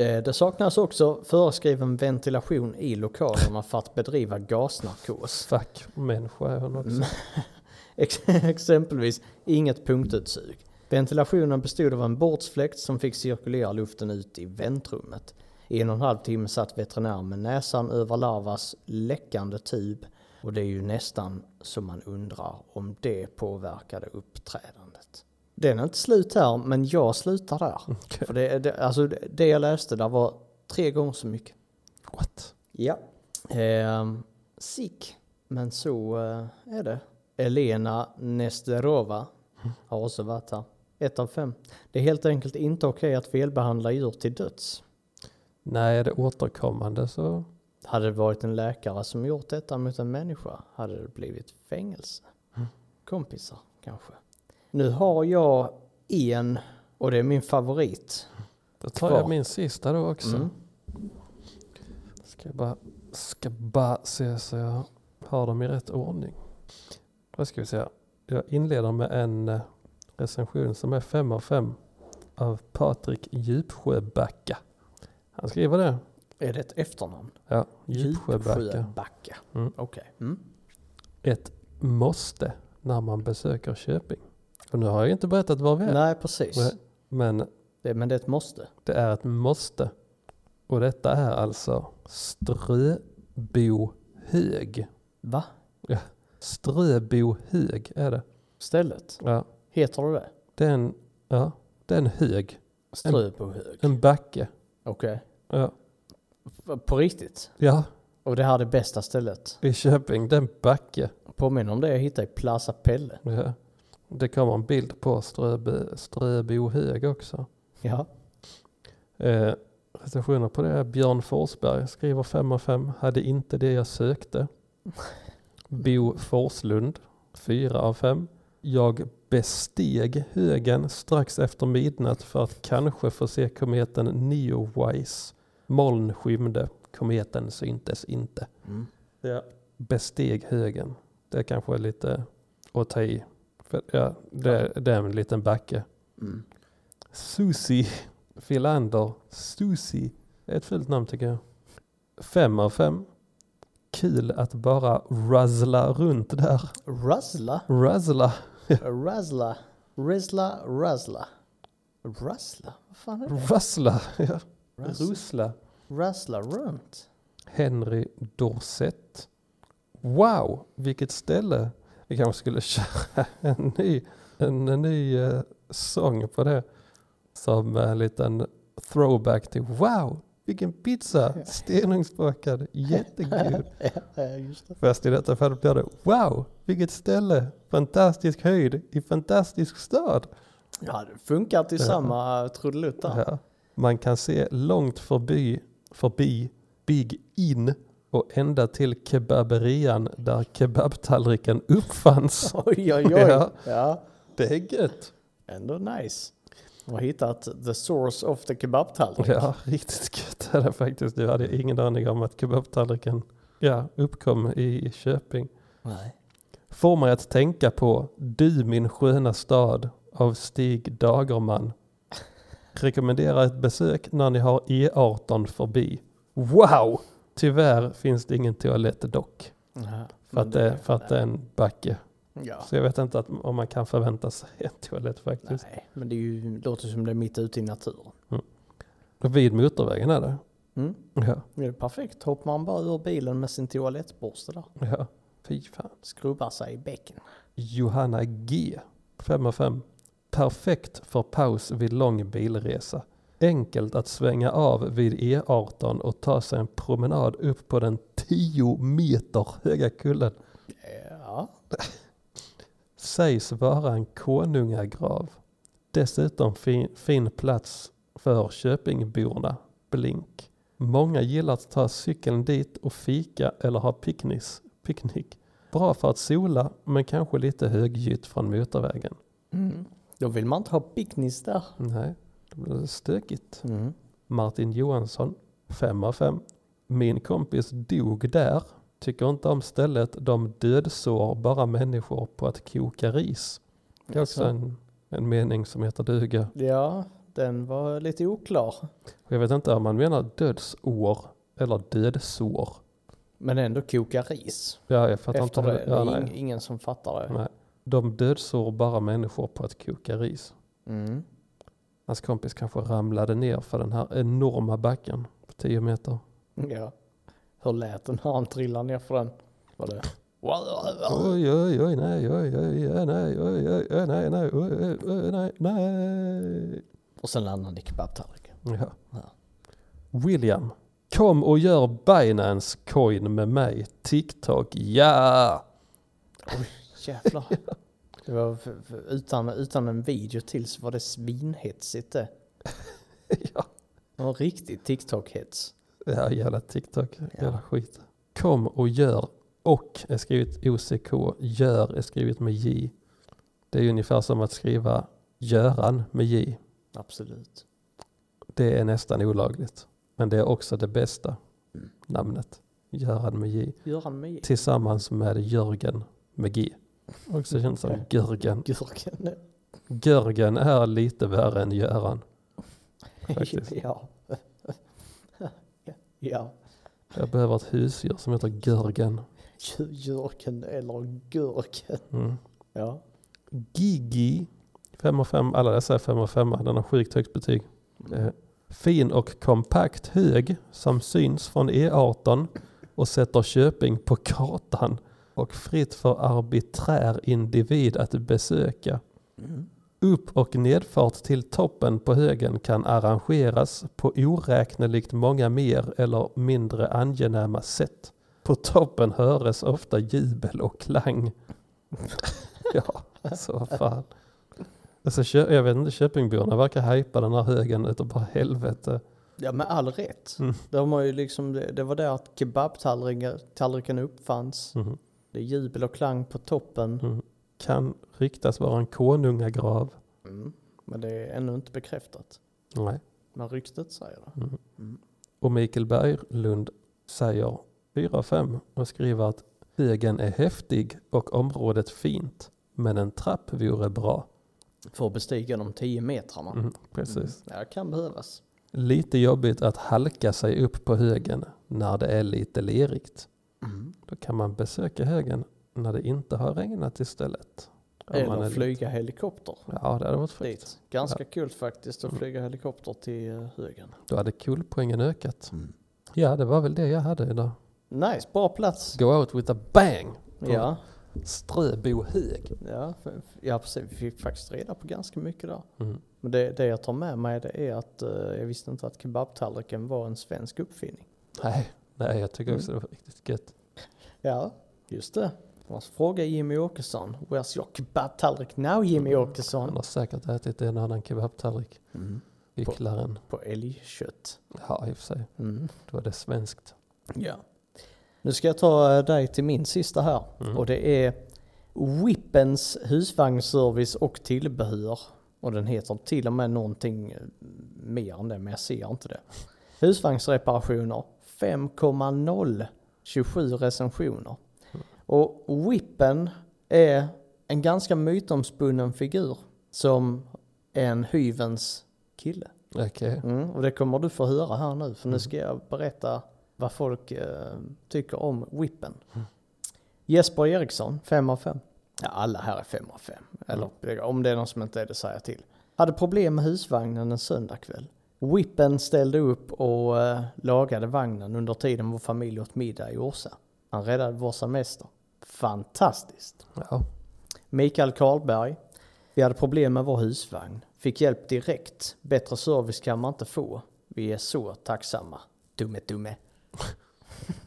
Speaker 3: Eh, Det saknas också föreskriven ventilation i lokalerna för att bedriva gasnarkos.
Speaker 2: Fuck människa är hon också.
Speaker 3: Mm. Ex- Exempelvis inget punktutsug. Ventilationen bestod av en bordsfläkt som fick cirkulera luften ut i väntrummet. I en och en halv timme satt veterinären med näsan över larvas läckande tub och det är ju nästan som man undrar om det påverkade uppträdandet. Den är inte slut här, men jag slutar där.
Speaker 2: Okej.
Speaker 3: För det, det, alltså det- det jag läste där var tre gånger så mycket.
Speaker 2: What?
Speaker 3: Ja. Ehm, sick. Men så eh, är det. Elena Nesterova har också varit här. Ett av fem. Det är helt enkelt inte okej att felbehandla djur till döds.
Speaker 2: Nej, är det återkommande så...
Speaker 3: Hade det varit en läkare som gjort detta mot en människa hade det blivit fängelse. Kompisar kanske. Nu har jag en och det är min favorit.
Speaker 2: Då tar
Speaker 3: Kvar.
Speaker 2: jag min sista då också.
Speaker 3: Mm.
Speaker 2: Ska jag bara, ska bara se så jag har dem i rätt ordning. Vad ska vi säga? Jag inleder med en eh, recension som är 5 av 5 av Patrik Djupsjöbacka. Han skriver det.
Speaker 3: Är det ett efternamn?
Speaker 2: Ja, Djupsjöbacka.
Speaker 3: Djupsjöbacka.
Speaker 2: Mm.
Speaker 3: Okej. Mm.
Speaker 2: Ett måste när man besöker Köping. Och nu har jag inte berättat var vi är.
Speaker 3: Nej, precis.
Speaker 2: Nej. Men
Speaker 3: Det, men det är ett måste.
Speaker 2: det är ett måste. Och detta är alltså Ströbohög.
Speaker 3: Va?
Speaker 2: Ströbohög är det.
Speaker 3: Stället?
Speaker 2: Ja.
Speaker 3: Heter det det?
Speaker 2: Det är en, ja, det är en hög.
Speaker 3: Ströbohög?
Speaker 2: En backe.
Speaker 3: Okej.
Speaker 2: Ja,
Speaker 3: F- På riktigt?
Speaker 2: ja
Speaker 3: Och det här är det bästa stället?
Speaker 2: i Köping. Det är en backe.
Speaker 3: Påminner om det jag hittade i Plaza Pelle.
Speaker 2: Ja. Det kommer en bild på Ströbe, Ströbohög också.
Speaker 3: Ja.
Speaker 2: Eh, recensioner på det är Björn Forsberg skriver 5 av 5. Hade inte det jag sökte. Bo Forslund 4 av 5. Jag besteg högen strax efter midnatt för att kanske få se kometen Neowise. Moln skymde, kometen syntes inte.
Speaker 3: Mm.
Speaker 2: Ja. Besteg högen. Det kanske är lite att ta i. För, ja, det, det är en liten backe.
Speaker 3: Mm.
Speaker 2: Susie Filander. Susie är ett fult namn tycker jag. Fem av fem. Kul att bara razzla runt där.
Speaker 3: Razzla?
Speaker 2: Razzla.
Speaker 3: Razzla? Rizzla? Razzla? Razzla? Vad fan är det?
Speaker 2: Razzla. Ja.
Speaker 3: Razzla,
Speaker 2: Rusla.
Speaker 3: razzla runt?
Speaker 2: Henry Dorset. Wow, vilket ställe. Vi kanske skulle köra en ny, en, en ny eh, sång på det. Som eh, en liten throwback till wow, vilken pizza. Stenugnsbakad, jättegod.
Speaker 3: Ja, just det.
Speaker 2: Fast i detta fallet blir det wow, vilket ställe, fantastisk höjd i fantastisk stad.
Speaker 3: Ja, det funkar till samma trudelutt där.
Speaker 2: Ja. Man kan se långt förbi, förbi Big In och ända till kebaberian där kebabtallriken uppfanns.
Speaker 3: Oj, oj, oj.
Speaker 2: Ja.
Speaker 3: Ja,
Speaker 2: Det är gött.
Speaker 3: ändå nice. Och hittat the source of the kebabtallrik.
Speaker 2: Ja, riktigt gött är det faktiskt. Jag hade ingen aning om att kebabtallriken ja, uppkom i Köping.
Speaker 3: Nej.
Speaker 2: får mig att tänka på Du min sköna stad av Stig Dagerman. Rekommenderar ett besök när ni har E18 förbi. Wow! Tyvärr finns det ingen toalett dock.
Speaker 3: Ja,
Speaker 2: För att, det, för att det är en backe.
Speaker 3: Mm, Ja.
Speaker 2: Så jag vet inte att, om man kan förvänta sig en toalett faktiskt.
Speaker 3: Nej, men det är ju, låter som det är mitt ute i naturen.
Speaker 2: Vid motorvägen är det.
Speaker 3: Mm.
Speaker 2: Ja,
Speaker 3: Det är perfekt. Hoppar man bara ur bilen med sin toalettborste där.
Speaker 2: ja. Fy fan.
Speaker 3: Skrubbar sig i bäcken.
Speaker 2: Johanna G. 5 av 5. Perfekt för paus vid lång bilresa. Enkelt att svänga av vid E18 och ta sig en promenad upp på den 10 meter höga kullen.
Speaker 3: Ja.
Speaker 2: Sägs vara en konungagrav. Dessutom fin, fin plats för Köpingborna. Blink. Många gillar att ta cykeln dit och fika eller ha picknick. picknick. Bra för att sola men kanske lite högljutt från motorvägen.
Speaker 3: Mm. Då vill man inte ha picknick där. Mm.
Speaker 2: Nej, det blir stökigt. Martin Johansson, 5 av 5. Min kompis dog där. Tycker inte om stället. De dödsår bara människor på att koka ris. Det är också
Speaker 3: Jaså?
Speaker 2: en, en mening som heter duga.
Speaker 3: Ja, den var lite oklar.
Speaker 2: Och jag vet inte om man menar dödsår eller dödsår.
Speaker 3: Men ändå koka ris.
Speaker 2: Ja, jag fattar
Speaker 3: Efter
Speaker 2: inte.
Speaker 3: det,
Speaker 2: Ja,
Speaker 3: det är ing-
Speaker 2: nej.
Speaker 3: ingen som fattar det.
Speaker 2: Nej. De dödsår bara människor på att koka ris.
Speaker 3: Mm.
Speaker 2: Hans kompis kanske ramlade ner för den här enorma backen på 10 meter.
Speaker 3: Ja. Hur lät den när han trillade ner för den? Var det...
Speaker 2: Oj, oj, oj, nej, oj, oj, oj, nej, oj, oj, oj, nej, nej, oj, oj, oj, nej, nej.
Speaker 3: Och sen landade i kebabtallriken.
Speaker 2: Ja.
Speaker 3: Ja.
Speaker 2: William, kom och gör Binance coin med mig, TikTok, ja!
Speaker 3: Oj, jävlar. Det var f- f- utan, utan en video till så var det svinhetsigt det.
Speaker 2: ja.
Speaker 3: Det var riktigt TikTok-hets.
Speaker 2: ja, jävla TikTok.
Speaker 3: Ja.
Speaker 2: Jävla skit. Kom och gör. Och är skrivet OCK. Gör är skrivet med J. Det är ju ungefär som att skriva Göran med J.
Speaker 3: Absolut.
Speaker 2: Det är nästan olagligt. Men det är också det bästa namnet. Göran med J.
Speaker 3: Göran med J.
Speaker 2: Tillsammans med Jörgen med G. Också känns som Görgen.
Speaker 3: Gurken.
Speaker 2: Görgen är lite värre än Göran. Faktiskt.
Speaker 3: ja. ja.
Speaker 2: Jag behöver ett husdjur som heter Görgen.
Speaker 3: Gurken eller gurken.
Speaker 2: Mm.
Speaker 3: Ja.
Speaker 2: Gigi. 5 och 5, alla dessa är 5 och 5, den har sjukt högt betyg. Eh, fin och kompakt hög som syns från E18 och sätter Köping på kartan och fritt för arbiträr individ att besöka.
Speaker 3: Mm.
Speaker 2: Upp och nedfart till toppen på högen kan arrangeras på oräkneligt många mer eller mindre angenäma sätt. På toppen höres ofta jubel och klang. ja, alltså vad fan. Alltså, Kö- jag vet inte, Köpingborna verkar hajpa den här högen utav bara helvete.
Speaker 3: Ja, med all rätt.
Speaker 2: Mm.
Speaker 3: De har ju liksom, det, det var där att kebabtallriken uppfanns.
Speaker 2: Mhm.
Speaker 3: Det är jubel och klang på toppen.
Speaker 2: Kan ryktas vara en konungagrav.
Speaker 3: Mm. Men det är ännu inte bekräftat.
Speaker 2: Nej.
Speaker 3: Men ryktet säger det.
Speaker 2: Mm. Och Mikael Berglund säger 4-5 och skriver att högen är häftig och området fint. Men en trapp vore bra.
Speaker 3: För att bestiga de 10 metrarna.
Speaker 2: Mm, precis.
Speaker 3: Ja, det kan behövas.
Speaker 2: Mm. Lite jobbigt att halka sig upp på högen när det är lite lerigt.
Speaker 3: Mm.
Speaker 2: Då kan man besöka högen när det inte har regnat istället. Om man
Speaker 3: Eller
Speaker 2: är-
Speaker 3: flyga helikopter
Speaker 2: Ja, det hade varit fräckt.
Speaker 3: dit. Ganska kul faktiskt
Speaker 2: Mm.
Speaker 3: att flyga helikopter till eh, högen.
Speaker 2: Då hade coolpoängen ökat.
Speaker 3: mm,
Speaker 2: Ja, det var väl det jag hade idag.
Speaker 3: Nice, bra plats.
Speaker 2: Go out with a bang!
Speaker 3: Ja,
Speaker 2: Ströbo hög.
Speaker 3: ja, f- f- ja, precis. Vi fick faktiskt reda på ganska mycket där.
Speaker 2: Mm.
Speaker 3: Men det, det jag tar med mig det är att eh, jag visste inte att kebabtallriken var en svensk uppfinning.
Speaker 2: Nej, nej, jag tycker
Speaker 3: Mm.
Speaker 2: också det var riktigt gött.
Speaker 3: Ja, just det. Jag måste fråga Jimmy Åkesson. Where's your kebabtallrik now Jimmy
Speaker 2: Han
Speaker 3: Åkesson?
Speaker 2: har säkert ätit en annan kebabtallrik.
Speaker 3: mm.
Speaker 2: Hycklaren.
Speaker 3: På älgkött.
Speaker 2: Ja, i och för sig.
Speaker 3: Mm.
Speaker 2: Då är det svenskt.
Speaker 3: Ja. Nu ska jag ta eh, dig till min sista här.
Speaker 2: Mm.
Speaker 3: Mm. Och det är Whippens husvagnsservice och tillbehör. Och den heter till och med någonting eh, mer än det, men jag ser inte det. Husvagnsreparationer 5,0. 27 recensioner. Och Whippen är en ganska mytomspunnen figur som en hyvens kille.
Speaker 2: Okej.
Speaker 3: Mm, och det kommer du få höra här nu, för nu ska jag berätta vad folk eh, tycker om Whippen. Jesper Eriksson, 5 av 5. Ja, alla här är 5 av 5. Eller om det är någon som inte är det säger jag till. Hade problem med husvagnen en söndagkväll. Whippen ställde upp och eh, lagade vagnen under tiden vår familj åt middag i Orsa. Han räddade vår semester. Fantastiskt!
Speaker 2: Ja.
Speaker 3: Mikael Karlberg. Vi hade problem med vår husvagn. Fick hjälp direkt. Bättre service kan man inte få. Vi är så tacksamma. Dumme, dumme.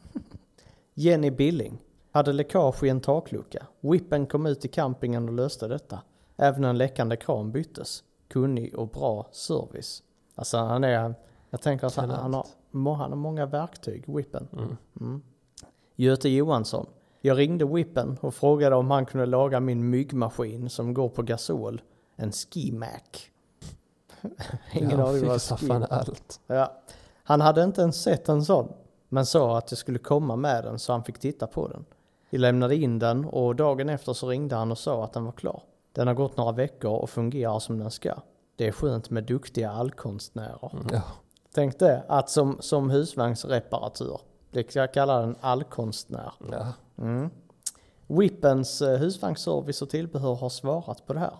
Speaker 3: Jenny Billing. Hade läckage i en taklucka. Whippen kom ut i campingen och löste detta. Även en läckande kran byttes. Kunnig och bra service. Alltså han är... Jag tänker att han, han, har, må- han har många verktyg, Whippen. Mm. Göte Johansson. Jag ringde Whippen och frågade om han kunde laga min myggmaskin som går på gasol. En skimac. Ingen
Speaker 2: ja,
Speaker 3: aning vad
Speaker 2: fixar fan
Speaker 3: skimac
Speaker 2: allt.
Speaker 3: Ja. Han hade inte ens sett en sån, men sa att jag skulle komma med den så han fick titta på den. Jag lämnade in den och dagen efter så ringde han och sa att den var klar. Den har gått några veckor och fungerar som den ska. Det är skönt med duktiga allkonstnärer.
Speaker 2: Mm, Ja.
Speaker 3: Tänk det, att som, som husvagnsreparatör. Det ska jag kalla en allkonstnär.
Speaker 2: ja.
Speaker 3: Mm. Whippens eh, husvagnsservice och tillbehör har svarat på det här.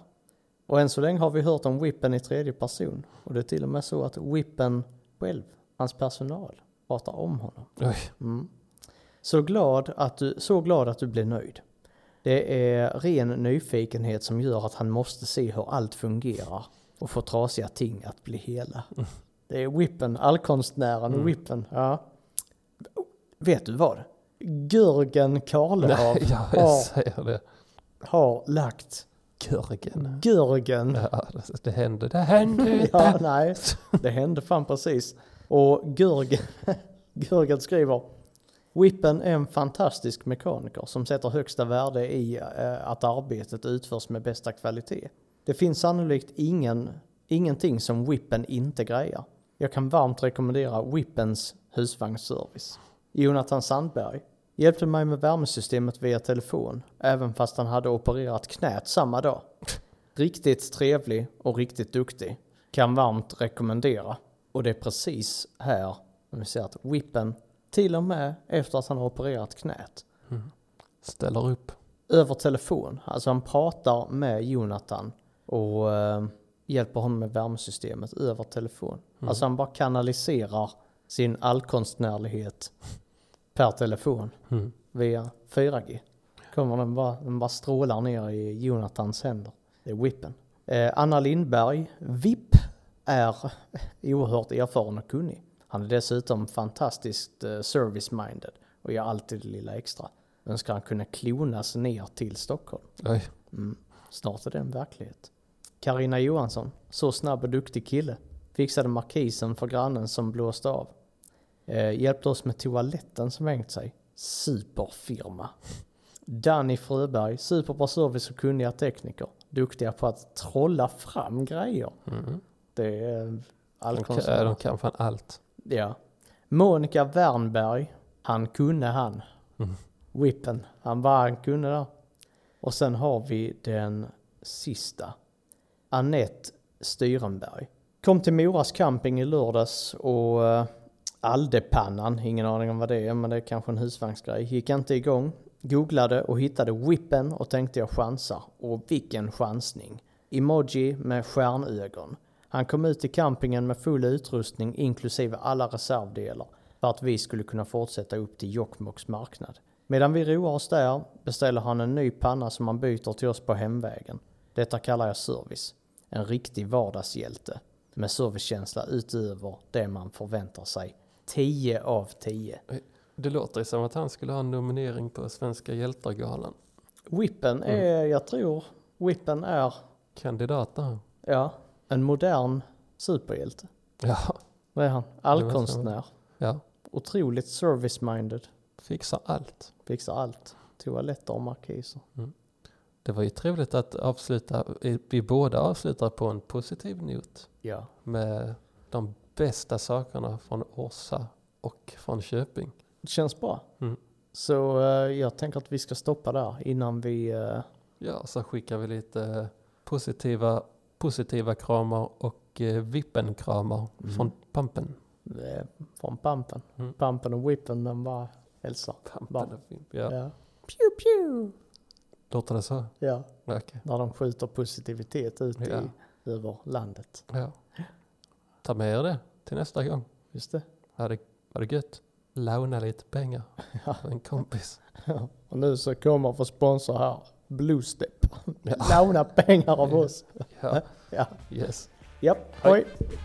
Speaker 3: Och än så länge har vi hört om Whippen i tredje person. Och det är till och med så att Whippen själv, hans personal, pratar om honom.
Speaker 2: Oj.
Speaker 3: Mm. Så, glad att du, så glad att du blir nöjd. Det är ren nyfikenhet som gör att han måste se hur allt fungerar och få trasiga ting att bli hela. Det är Whippen, allkonstnären Whippen. Ja. Vet du vad? Görgen Karlehav
Speaker 2: Nej, ja, jag
Speaker 3: har,
Speaker 2: säger det.
Speaker 3: har lagt
Speaker 2: Görgen.
Speaker 3: Görgen.
Speaker 2: Ja, det, det hände. Det hände
Speaker 3: Mm. Ja,
Speaker 2: inte.
Speaker 3: nej. Det hände fan precis. Och Görgen, Görgen skriver Whippen är en fantastisk mekaniker som sätter högsta värde i eh, att arbetet utförs med bästa kvalitet. Det finns sannolikt ingen, ingenting som Whippen inte grejar. Jag kan varmt rekommendera Whippens husvagnsservice. Jonathan Sandberg hjälpte mig med värmesystemet via telefon, även fast han hade opererat knät samma dag. Riktigt trevlig och riktigt duktig. Kan varmt rekommendera. Och det är precis här vi ser att Whippen, till och med efter att han har opererat knät,
Speaker 2: Mm. Ställer upp.
Speaker 3: över telefon, alltså han pratar med Jonathan och eh, hjälper honom med värmesystemet över telefon.
Speaker 2: Mm.
Speaker 3: Alltså han bara kanaliserar sin allkonstnärlighet per telefon
Speaker 2: Mm.
Speaker 3: via 4G. Kommer den bara, den bara strålar ner i Jonathans händer. Det är Whippen. Eh, Anna Lindberg, VIP, är oerhört erfaren och kunnig. Han är dessutom fantastiskt eh, service-minded och gör alltid det lilla extra. Önskar han kunna klonas ner till Stockholm.
Speaker 2: Oj.
Speaker 3: Mm. Snart är det en verklighet. Karina Johansson, så snabb och duktig kille. Fixade markisen för grannen som blåste av. Eh, hjälpte oss med toaletten som hängt sig. Superfirma. Danny Fröberg, superbra service och kunniga tekniker. Duktiga på att trolla fram grejer.
Speaker 2: Mm.
Speaker 3: Det är
Speaker 2: De, kan, ja, de
Speaker 3: allkonstnärer.
Speaker 2: kan fan allt.
Speaker 3: Ja. Monica Wernberg, han kunde han.
Speaker 2: Mm.
Speaker 3: Whippen, han var han kunde där. Och sen har vi den sista. Annette Styrenberg. Kom till Moras camping i lördags och eh, Aldepannan, ingen aning om vad det är, men det är kanske en husvagnsgrej, gick inte igång. Googlade och hittade Whippen och tänkte jag chansar. Och vilken chansning! Emoji med stjärnögon. Han kom ut till campingen med full utrustning inklusive alla reservdelar för att vi skulle kunna fortsätta upp till Jokkmokks marknad. Medan vi roar oss där beställer han en ny panna som han byter till oss på hemvägen. Detta kallar jag service. En riktig vardagshjälte med servicekänsla utöver det man förväntar sig. 10 av 10.
Speaker 2: Det låter ju som att han skulle ha en nominering på Svenska hjältargalan.
Speaker 3: Whippen är, jag tror, Whippen är,
Speaker 2: Kandidat där.
Speaker 3: ja, en modern superhjälte.
Speaker 2: Ja,
Speaker 3: Det är han. Allkonstnär.
Speaker 2: ja.
Speaker 3: Otroligt service-minded.
Speaker 2: Fixar allt.
Speaker 3: Fixar allt. Toaletter och markiser.
Speaker 2: Det var ju trevligt att avsluta. Vi båda avslutar på en positiv not.
Speaker 3: Ja.
Speaker 2: Med de bästa sakerna från Orsa och från Köping.
Speaker 3: Det känns bra.
Speaker 2: Mm.
Speaker 3: Så eh, jag tänker att vi ska stoppa där innan vi... eh,
Speaker 2: Ja, så skickar vi lite positiva, positiva kramar och eh, vippen-kramar
Speaker 3: Mm.
Speaker 2: från Pampen.
Speaker 3: eh, från Pampen.
Speaker 2: Mm.
Speaker 3: Pampen och Whippen, den bara hälsar.
Speaker 2: Pampen
Speaker 3: Va?
Speaker 2: och Vipp, ja.
Speaker 3: Ja. Pew, pew!
Speaker 2: Låter det så?
Speaker 3: Ja,
Speaker 2: Okej.
Speaker 3: när de skjuter positivitet ut
Speaker 2: Ja.
Speaker 3: i, över landet.
Speaker 2: Ja. Ta med er det till nästa gång.
Speaker 3: Just det.
Speaker 2: Var det, var det gött? Låna lite pengar
Speaker 3: Ja.
Speaker 2: av en kompis.
Speaker 3: Och nu så kommer vår sponsor här, Bluestep. Låna pengar av oss.
Speaker 2: Ja,
Speaker 3: Ja.
Speaker 2: yes.
Speaker 3: Japp,
Speaker 2: Hej.
Speaker 3: oj.